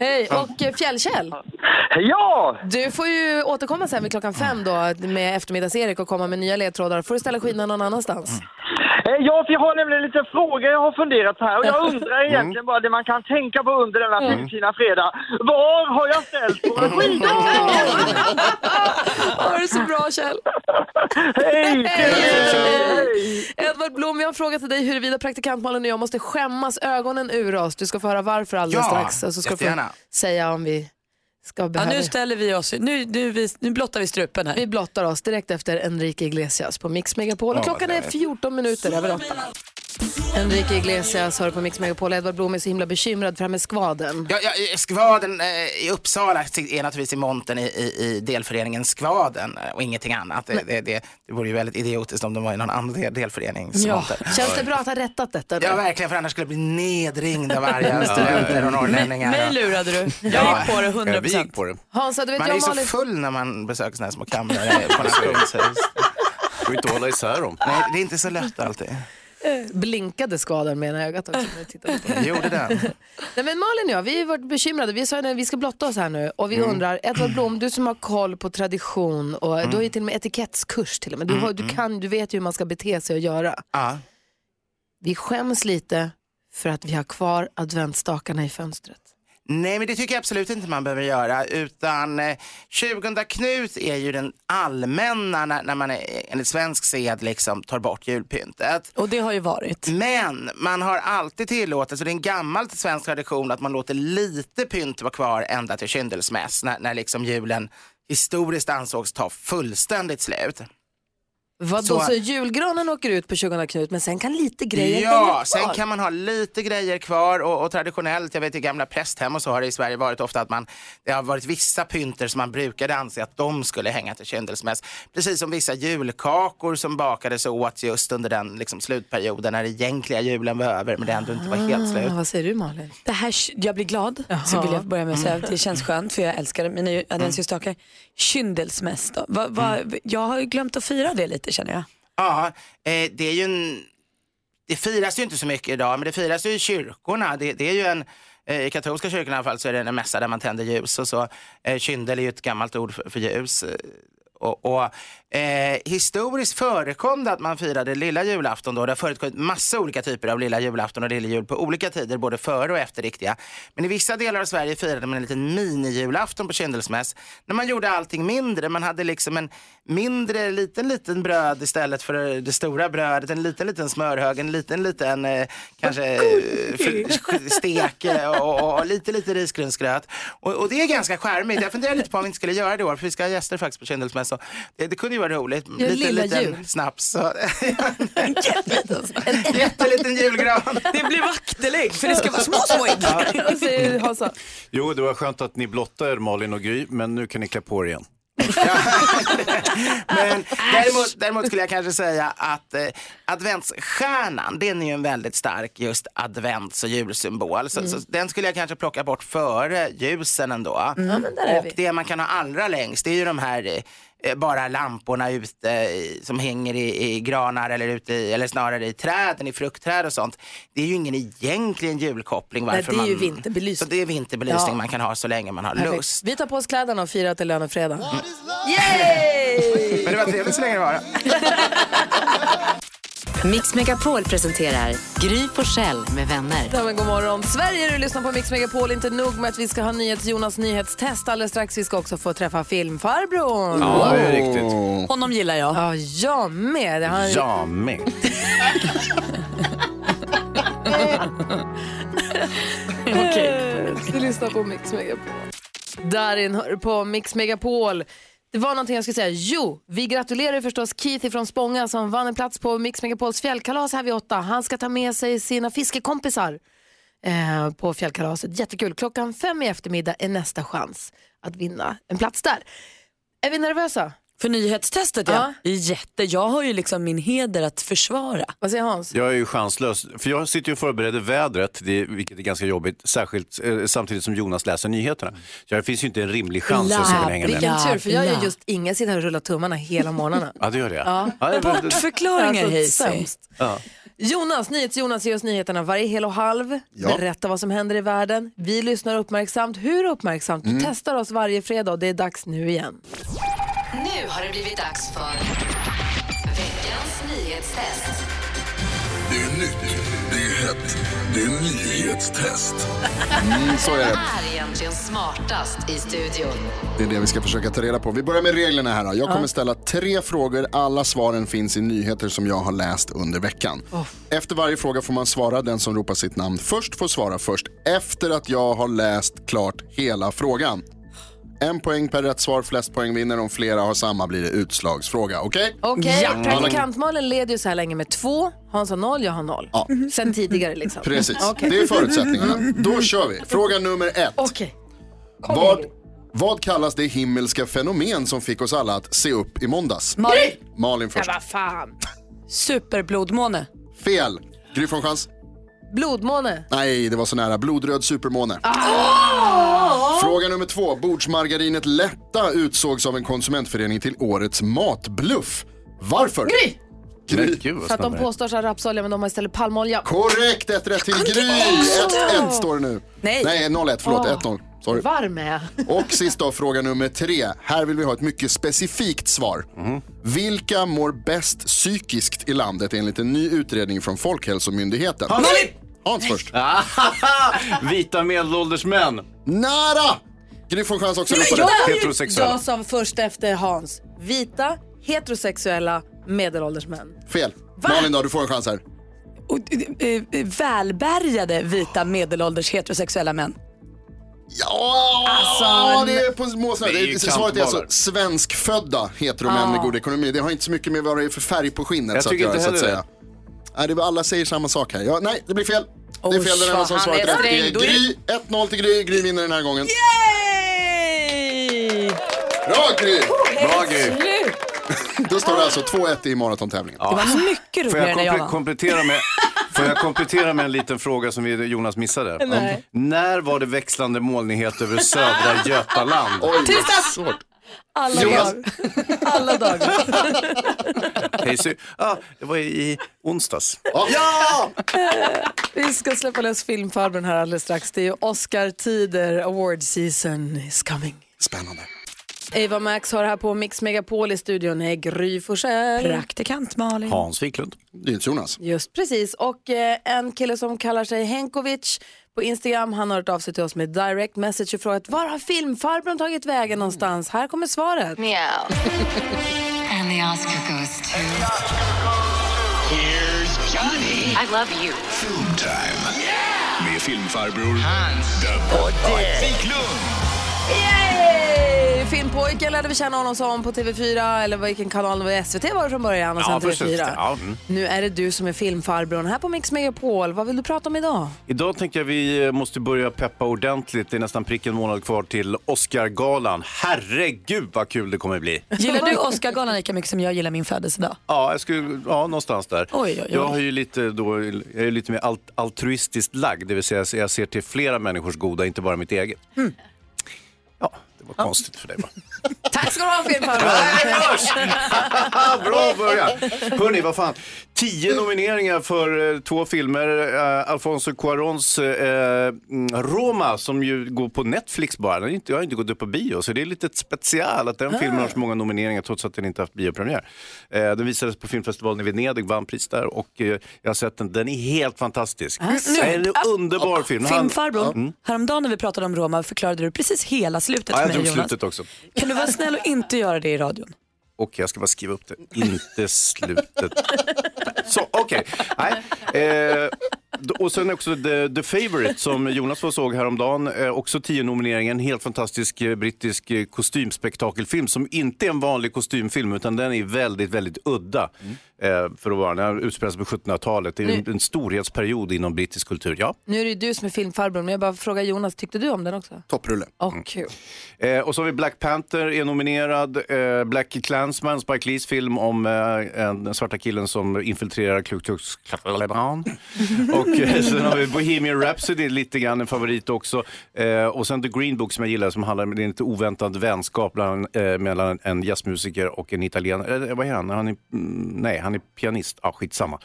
Hej, och eh, Fjällkäll.
Ja!
Du får ju återkomma sen vid klockan fem då med eftermiddags-Erik och komma med nya ledtrådar. får du ställa skidorna någon annanstans.
Mm.
Eh, Ja, för jag har nämligen en liten fråga jag har funderat på här och jag undrar egentligen bara det man kan tänka på under denna finfina fredag. Var har jag ställt våra skidor?
Ha det så bra Kjell!
Hej!
Edvard Blom, vi har en fråga till dig huruvida praktikantmalen och jag måste skämmas ögonen ur oss. Du ska få höra varför alldeles
Ja,
strax. Och så ska du få
jättegärna.
säga om vi ska
Ja,
behöva...
nu ställer vi oss, nu, nu, vis- nu blottar vi strupen här.
vi blottar oss direkt efter Enrique Iglesias på Mix Megapol.
Ja,
Och klockan
vad
är
härligt.
14 minuter över 8. Enrique Iglesias hör på Mix Megapol. Edvard Blom är så himla bekymrad för det här med skvaden.
Ja, ja, skvaden eh, i Uppsala är naturligtvis i montern i, i, i delföreningen Skvaden eh, och ingenting annat. Det, det, det, det vore ju väldigt idiotiskt om de var i någon annan del-
Ja.
delföreningsmonter.
Känns det bra att ha rättat detta?
Ja, verkligen, för annars skulle jag bli nedringd av
Ja.
arga studenter och norrlänningar.
Mig- mig
lurade du.
Jag
gick på det 100%.
vi gick på det.
Hansa, Alltså, du vet
man
jag
är
och
ju så
Malin...
full när man besöker sådana här små kamrar eh, på nationshuset.
Får inte hålla isär dem. Mm.
Nej, det är inte så lätt alltid.
Blinkade skvaden med ena ögat också när du tittade på den.
Gjorde den.
Nej, men Malin och jag, vi har varit bekymrade. Vi sa att vi ska blotta oss här nu och vi
Mm.
undrar, Edvard Blom, du som har koll på tradition och du har
Mm.
ju till och med etikettskurs till och med. Du, har, du, kan, du vet ju hur man ska bete sig och göra.
Ja.
Vi skäms lite för att vi har kvar adventstakarna i fönstret.
Nej, men det tycker jag absolut inte man behöver göra. Utan eh, 20 Knut är ju den allmänna när, när man eh, enligt svensk sed liksom tar bort julpyntet.
Och det har ju varit.
Men man har alltid tillåtit, så det är en gammal svensk tradition att man låter lite pynt vara kvar ända till kyndelsmäss när, när liksom julen historiskt ansågs ta fullständigt slut.
Vadå, så...
Så-
julgranen åker ut på 20 Knut men sen kan lite grejer
Ja,
hänga
sen
kvar.
kan man ha lite grejer kvar och, och traditionellt, jag vet i gamla prästhem och så har det i Sverige varit ofta att man, det har varit vissa pynter som man brukade anse att de skulle hänga till kyndelsmäss. Precis som vissa julkakor som bakades och åt just under den liksom, slutperioden när egentliga julen var över men det ändå inte var helt slut.
Ah, Vad säger du Malin?
Det här, jag blir glad, så vill jag börja med att säga. att Det känns skönt för jag älskar mina
Mm.
ju- adventsljusstakar. Kyndelsmäss då? Va, va, Jag har ju glömt att fira det lite känner jag.
Ja, eh, det är ju en... Det firas ju inte så mycket idag, men det firas ju i kyrkorna. Det, det är ju en... eh, I katolska kyrkan i alla fall så är det en mässa där man tänder ljus och så. Eh, Kyndel är ju ett gammalt ord för, för ljus. Eh, Och, och, eh, historiskt förekom det att man firade lilla julafton då. Det har förekommit massa olika typer av lilla julafton och lilla jul på olika tider, både före och efter riktiga. Men i vissa delar av Sverige firade man en liten minijulafton på kyndelsmäss när man gjorde allting mindre. Man hade liksom en mindre liten, liten bröd istället för det stora brödet, en liten, liten smörhög, en liten, liten eh, kanske eh, fr- stek eh, och, och, och lite, lite risgrynsgröt. Och, och det är ganska charmigt. Jag funderar lite på om vi inte skulle göra det i år, för vi ska ha gäster faktiskt på kyndelsmässan. Det, det kunde ju vara roligt.
Ja,
lite,
lilla
liten
jul.
snaps. Och, en jätteliten julgran.
Det blir vaktelägg för det ska vara små, små ägg.
Vad säger Hansa?
Jo, det var skönt att ni blottade er Malin och Gry, men nu kan ni klä på er igen.
Men däremot, däremot skulle jag kanske säga att eh, adventsstjärnan, den är ju en väldigt stark just advents och julsymbol. Så, så den skulle jag kanske plocka bort före ljusen ändå.
Mm. Ja, men där är
och
vi.
det man kan ha allra längst, det är ju de här eh, bara lamporna ute i, som hänger i, i granar eller, ute i, eller snarare i träden, i fruktträd och sånt. Det är ju ingen egentligen julkoppling.
Nej,
varför
det är ju
man-
vinterbelysning.
Så det är vinterbelysning
Ja.
man kan ha så länge man har
Perfekt.
lust.
Vi tar på oss kläderna och firar till lönefredag.
Men det var trevligt så länge det var.
Mix Megapol presenterar Gry Forssell med vänner.
Ja, men god morgon Sverige, du lyssnar på Mix Megapol. Inte nog med att vi ska ha nyhets Jonas nyhetstest alldeles strax. Vi ska också få träffa filmfarbrorn.
Ja, det är riktigt.
Honom gillar jag.
Ja, jag med. Han...
Jag med.
Eh, Okej. Vi lyssnar på Mix Megapol. Darin hör på Mix Megapol. Det var någonting jag skulle säga. Jo, vi gratulerar förstås Keith från Spånga som vann en plats på Mix Megapols fjällkalas här vid åtta. Han ska ta med sig sina fiskekompisar eh, på fjällkalaset. Jättekul. Klockan fem i eftermiddag är nästa chans att vinna en plats där. Är vi nervösa?
För nyhetstestet ja. Jätte, jag har ju liksom min heder att försvara.
Vad säger Hans?
Jag är ju chanslös, för jag sitter ju och förbereder vädret, det, vilket är ganska jobbigt, särskilt eh, samtidigt som Jonas läser nyheterna. Så det finns ju inte en rimlig chans att jag ska kunna hänga med.
Vilken tur, för jag gör just inget, sitter här och rullar tummarna hela morgnarna.
Ja, det gör det.
Ja. Alltså,
det-
Bortförklaringar, Hayes.
sämst.
Ja.
Jonas, NyhetsJonas ger oss nyheterna varje hel och halv.
Ja.
Berätta vad som händer i världen. Vi lyssnar uppmärksamt. Hur uppmärksamt? Du
Mm.
testar oss varje fredag och det är dags nu igen.
Nu har det blivit dags för veckans nyhetstest.
Det är nytt, det är hett, det är nyhetstest.
Mm, så är
Vem
det.
är egentligen smartast i studion?
Det är det vi ska försöka ta reda på. Vi börjar med reglerna här. Då. Jag kommer
Ja.
ställa tre frågor. Alla svaren finns i nyheter som jag har läst under veckan. Efter varje fråga får man svara. Den som ropar sitt namn först får svara först efter att jag har läst klart hela frågan. En poäng per rätt svar. Flest poäng vinner. Om flera har samma blir det utslagsfråga. Okej?
Okej,
Ja.
praktikantmalen leder ju så här länge med två. Hans har noll, jag har noll.
Ja.
Sen tidigare liksom.
Precis.
Okej. Mm.
Det är förutsättningarna. Då kör vi. Fråga nummer ett.
Okej.
Vad, vad kallas det himmelska fenomen som fick oss alla att se upp i måndags?
Malin.
Malin först.
vad fan.
Superblodmåne.
Fel. Gry får en chans.
Blodmåne.
Nej, det var så nära. Blodröd supermåne.
Ah.
Fråga nummer två. Bordsmargarinet Lätta utsågs av en konsumentförening till årets matbluff. Varför?
Gry!
Gry.
För att de påstår sig ha rapsolja men de har istället palmolja.
Korrekt, ett rätt till Gry! 1-1 står det nu.
Nej. Ah.
Nej, 0-1. Förlåt,
Åh.
1-0. Sorry.
Varm är jag.
Och sist då, fråga nummer tre. Här vill vi ha ett mycket specifikt svar. Vilka mår bäst psykiskt i landet enligt en ny utredning från Folkhälsomyndigheten?
Hans!
Hans först.
Vita medelålders män.
Nära! Gry får en chans också.
Nej,
ropa
jag,
rätt.
var ju- jag sa först efter Hans. Vita, heterosexuella, medelålders män.
Fel. Malin då, du får en chans här.
Eh, eh, Välbärgade vita medelålders heterosexuella män.
Ja,
Alltså,
det är på småsnö.
Det är ju
Svaret är alltså
kantbollar.
svenskfödda heteromän
Ah.
med god ekonomi. Det har inte så mycket med vad det är för färg på skinnet
Jag
så att
tycker
göra,
inte
så att
heller
säga. Nej, det är, alla säger samma sak här. Ja, nej, det blir fel. det är fel. Den
Oj,
enda som
fan,
svarat
han är
rätt är
sträng. Då är-
Gry. 1-0 till Gry. Gry vinner den här gången.
Yay!
Bra Gry!
Bra, Gry.
Då står det alltså 2-1 i maratontävlingen.
Ja.
mycket
Får jag,
roligare när jag
komple-
vann.
komplettera med, får jag komplettera med en liten fråga som vi- Jonas missade?
Nej.
När var det växlande molnighet över södra Götaland?
Tisdags! Alla
Jonas.
dagar. Alla dagar.
Hej, sy- ah, det var i onsdags.
Ja!
Vi ska släppa lös filmfarbrorn här alldeles strax. Det är ju Oscar-tider, award season is coming.
Spännande.
Eva Max har här på Mix Megapol i studion är Gry Forssell.
Praktikant Malin.
Hans Wiklund.
Jonas.
Just precis. Och eh, en kille som kallar sig Henkovic på Instagram, han har hört av sig till oss med direct message och frågat var har filmfarbrorn tagit vägen någonstans? Här kommer svaret.
Meow. And the Oscar goes to... Here's Johnny. I love you.
Time. Med filmfarbror Hans. Och
Yay! Filmpojken lärde vi känna honom som på TV4, eller vilken kanal det var, SVT var det från början och sen
först-
TV4.
ja, mm.
Nu är det du som är filmfarbrorn här på Mix Megapol. Vad vill du prata om idag?
Idag tänker jag vi måste börja peppa ordentligt. Det är nästan prick en månad kvar till Oscargalan. Herregud vad kul det kommer bli.
Gillar du Oscargalan lika mycket som jag gillar min födelsedag?
Ja, jag skulle, ja, någonstans där.
Oj, oj, oj.
Jag, har ju lite då, jag är lite mer alt, altruistiskt lagd, det vill säga jag ser till flera människors goda, inte bara mitt eget.
Mm.
Ja, det var konstigt för dig va?
Tack ska du ha
filmfarbrorn! Bra början! Hörni, vad fan. Tio nomineringar för eh, två filmer. Eh, Alfonso Cuarons eh, mm, Roma som ju går på Netflix bara. Den är inte, jag har inte gått upp på bio så det är lite ett special att den filmen har så många nomineringar trots att den inte haft biopremiär. Eh, den visades på filmfestivalen i Venedig, vann pris där och eh, jag har sett den. Den är helt
Ah,
fantastisk. Det är en underbar film. Han-
Filmfarbrorn,
Mm.
häromdagen när vi pratade om Roma förklarade du precis hela slutet
Ja, jag
för mig
drog
Jonas.
slutet också.
Kan du vara snäll och inte göra det i radion?
Okej, jag ska bara skriva upp det. Inte slutet. Så, okej. Nej. Eh, Och sen också The, The Favourite som Jonas var och såg häromdagen. Eh, också tio nomineringar, en helt fantastisk eh, brittisk eh, kostymspektakelfilm som inte är en vanlig kostymfilm utan den är väldigt, väldigt udda. Eh, för att vara, den utspelar sig på 1700-talet. Det är en,
Nu-
en storhetsperiod inom brittisk kultur. Ja.
Nu är det ju du som är filmfarbrorn, men jag bara frågar Jonas, tyckte du om den också?
Topprulle. Mm.
Åh, kul.
Eh, och så har vi Black Panther är nominerad. Eh, Black Klansman, Spike Lees film om eh, en, den svarta killen som infiltrerar Ku Klux Klan. Och eh, sen har vi Bohemian Rhapsody, lite grann en favorit också. Eh, och sen The Green Book som jag gillar som handlar om en lite oväntad vänskap bland, eh, mellan en jazzmusiker och en italienare. Eh, vad är han? han är, mm, nej, han är pianist. Ah, skitsamma.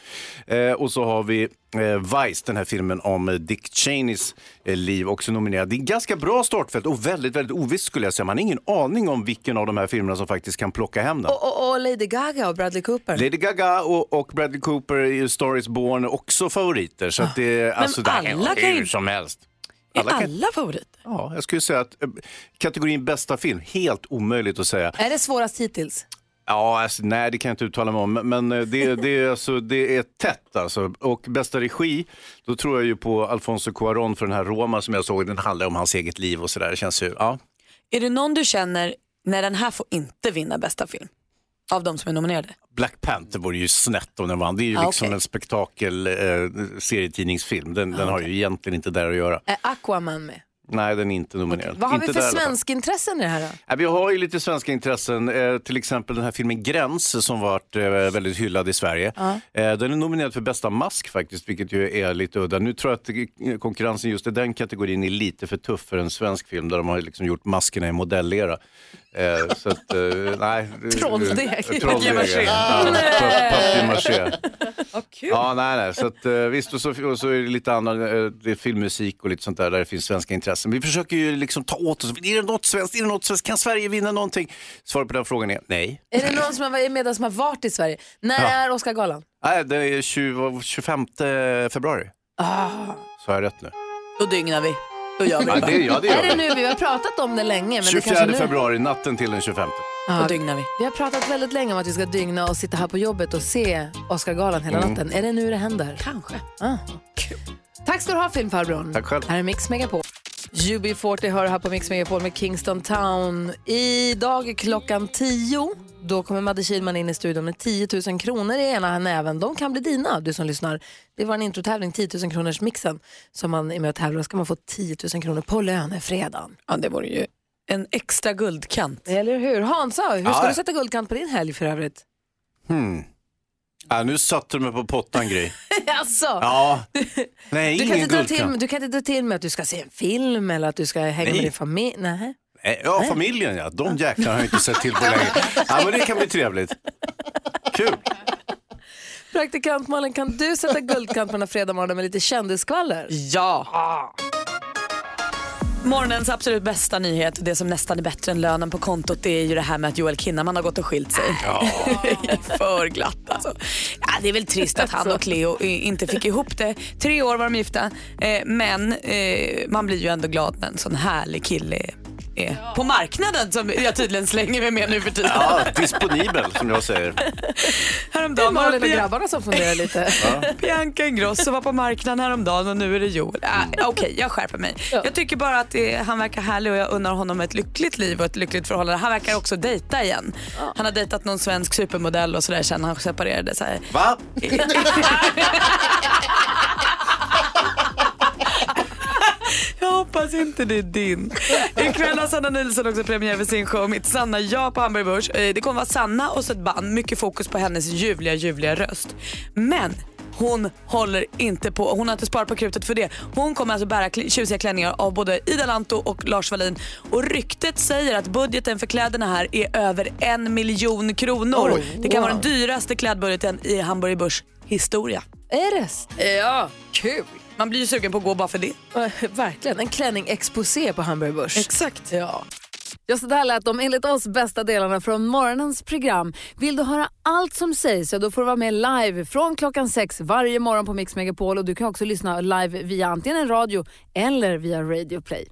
Eh, och så har vi eh, Vice, den här filmen om eh, Dick Cheneys eh, liv, också nominerad. Det är en ganska bra startfält och väldigt, väldigt ovisst skulle jag säga. Man har ingen aning om vilken av de här filmerna som faktiskt kan plocka hem den.
Och, och, och Lady Gaga och Bradley Cooper.
Lady Gaga och, och Bradley Cooper i Stories Born är också favoriter. Så att det, är- alltså, det här är
Ah. alla kan ju-
hur som helst.
Är
Alla
alla,
kan-
favoriter?
Ja, jag skulle säga att eh, kategorin bästa film, helt omöjligt att säga.
Är det svårast hittills?
Ja, alltså, nej det kan jag inte uttala mig om, men- men eh, det, det, är alltså, det är tätt alltså. Och bästa regi, då tror jag ju på Alfonso Cuarón för den här Roma som jag såg, den handlar om hans eget liv och sådär. Det känns ju, ja.
Är det någon du känner, när den här får inte vinna bästa film? Av de som är nominerade?
Black Panther vore ju snett om den vann. Det är ju
Ah,
liksom
okej.
en spektakel eh, serietidningsfilm. Den,
Ah,
den har ju egentligen inte där att göra.
Är Aquaman med?
Nej, den är inte nominerad.
Vad har
inte
vi för
där i alla fall.
svensk intressen i det här då?
Ja, Vi har ju lite svenska intressen, eh, till exempel den här filmen Gräns som varit eh, väldigt hyllad i Sverige.
Ja.
Eh, den är nominerad för bästa mask faktiskt, vilket ju är lite udda. Nu tror jag att eh, konkurrensen just i den kategorin är lite för tuff för en svensk film där de har liksom gjort maskerna i modellera. Eh, så att, eh, nej.
Trolldeg.
Eh, Trolldeg, ja.
Nej.
Papier-maché. Ja, nej, nej. Så att, eh, visst, och så, och så är det lite annan eh, det är filmmusik och lite sånt där där det finns svenska intressen. Vi försöker ju liksom ta åt oss. Är det något svenskt? Är det något svenskt? Kan Sverige vinna någonting? Svaret på den frågan är nej.
Är det någon som har varit med som har varit i Sverige? När
Ja.
är Oscargalan?
Nej, det är 20, 25 februari.
Ah,
Så har jag rätt nu?
då dygnar vi. Då gör vi
Ja, det, ja, det gör
är det
vi.
nu? Vi har pratat om det länge. Men det
24
kanske nu...
februari, natten till den 25.
Ja,
dygnar vi.
Vi har pratat väldigt länge om att vi ska dygna och sitta här på jobbet och se Oscargalan hela
Mm.
natten. Är det nu det händer? Kanske. Ah. Tack ska du ha filmfarbrorn.
Tack själv.
Här är Mix Megapol. UB40 hör här på Mix Megapol med Kingston Town. Idag klockan 10. Då kommer Madde Kihlman in i studion med 10 000 kronor i ena näven. De kan bli dina, du som lyssnar. Det var en introtävling, 10 000 kronors mixen som man är med och tävlar. Ska man få 10 000 kronor på lönefredagen.
Ja, det vore ju en extra guldkant.
Eller hur? Hansa, hur ska
Ja.
du sätta guldkant på din helg för övrigt?
Hmm. Ja, nu satte du mig på pottan, Gry.
alltså,
Ja. Nej,
du, kan
ingen
inte dra till,
guldkant.
du kan inte dra till med att du ska se en film eller att du ska hänga
Nej.
med din familj. Nej.
Nej, Eh, Ja, familjen ja. De jäklarna har jag inte sett till på länge. Ja, men det kan bli trevligt. Kul.
Praktikant Malin, kan du sätta guldkant på den här fredagmorgonen med lite kändisskvaller?
Ja!
Ah.
Morgonens absolut bästa nyhet, det som nästan är bättre än lönen på kontot, det är ju det här med att Joel Kinnaman har gått och skilt sig. För glatt alltså. Ja, det är väl trist att han
Alltså.
och Cleo i- inte fick ihop det. Tre år var de gifta, eh, men eh, man blir ju ändå glad när en sån härlig kille är på marknaden som jag tydligen slänger mig med nu för tiden.
Ja, disponibel som jag säger.
Det är
Häromdagen
Malin och
Bia-
grabbarna som funderar lite.
Bianca Ingrosso var på marknaden häromdagen och nu är det Joel. Äh, Okej, jag skärper mig. Jag tycker bara att det, han verkar härlig och jag unnar honom ett lyckligt liv och ett lyckligt förhållande. Han verkar också dejta igen. Han har dejtat någon svensk supermodell och sådär sen han separerade. Så här.
Va?
Jag hoppas inte det är din. Ikväll har Sanna Nilsson också premiär för sin show Mitt Sanna Jag på Hamburg Börs. Eh, Det kommer vara Sanna och så ett band. Mycket fokus på hennes ljuvliga, ljuvliga röst. Men hon håller inte på. Hon har inte sparat på krutet för det. Hon kommer alltså bära kli- tjusiga klänningar av både Ida Lanto och Lars Wallin. Och ryktet säger att budgeten för kläderna här är över en miljon kronor.
Oj,
det kan vara
wow.
den dyraste klädbudgeten i Hamburg Börs historia.
Är det? s-
Eh, Ja, kul. Man blir ju sugen på att gå bara för det.
Verkligen, en klänning exposé på Hamburg Börs.
Exakt.
Ja. Ja, så där lät de enligt oss bästa delarna från morgonens program. Vill du höra allt som sägs, ja, då får du vara med live från klockan sex varje morgon på Mix Megapol. Och du kan också lyssna live via antingen en radio eller via Radio Play.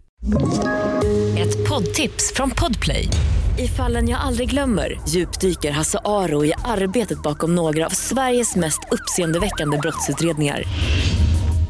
Ett poddtips från Podplay. I fallen jag aldrig glömmer djupdyker Hasse Aro i arbetet bakom några av Sveriges mest uppseendeväckande brottsutredningar.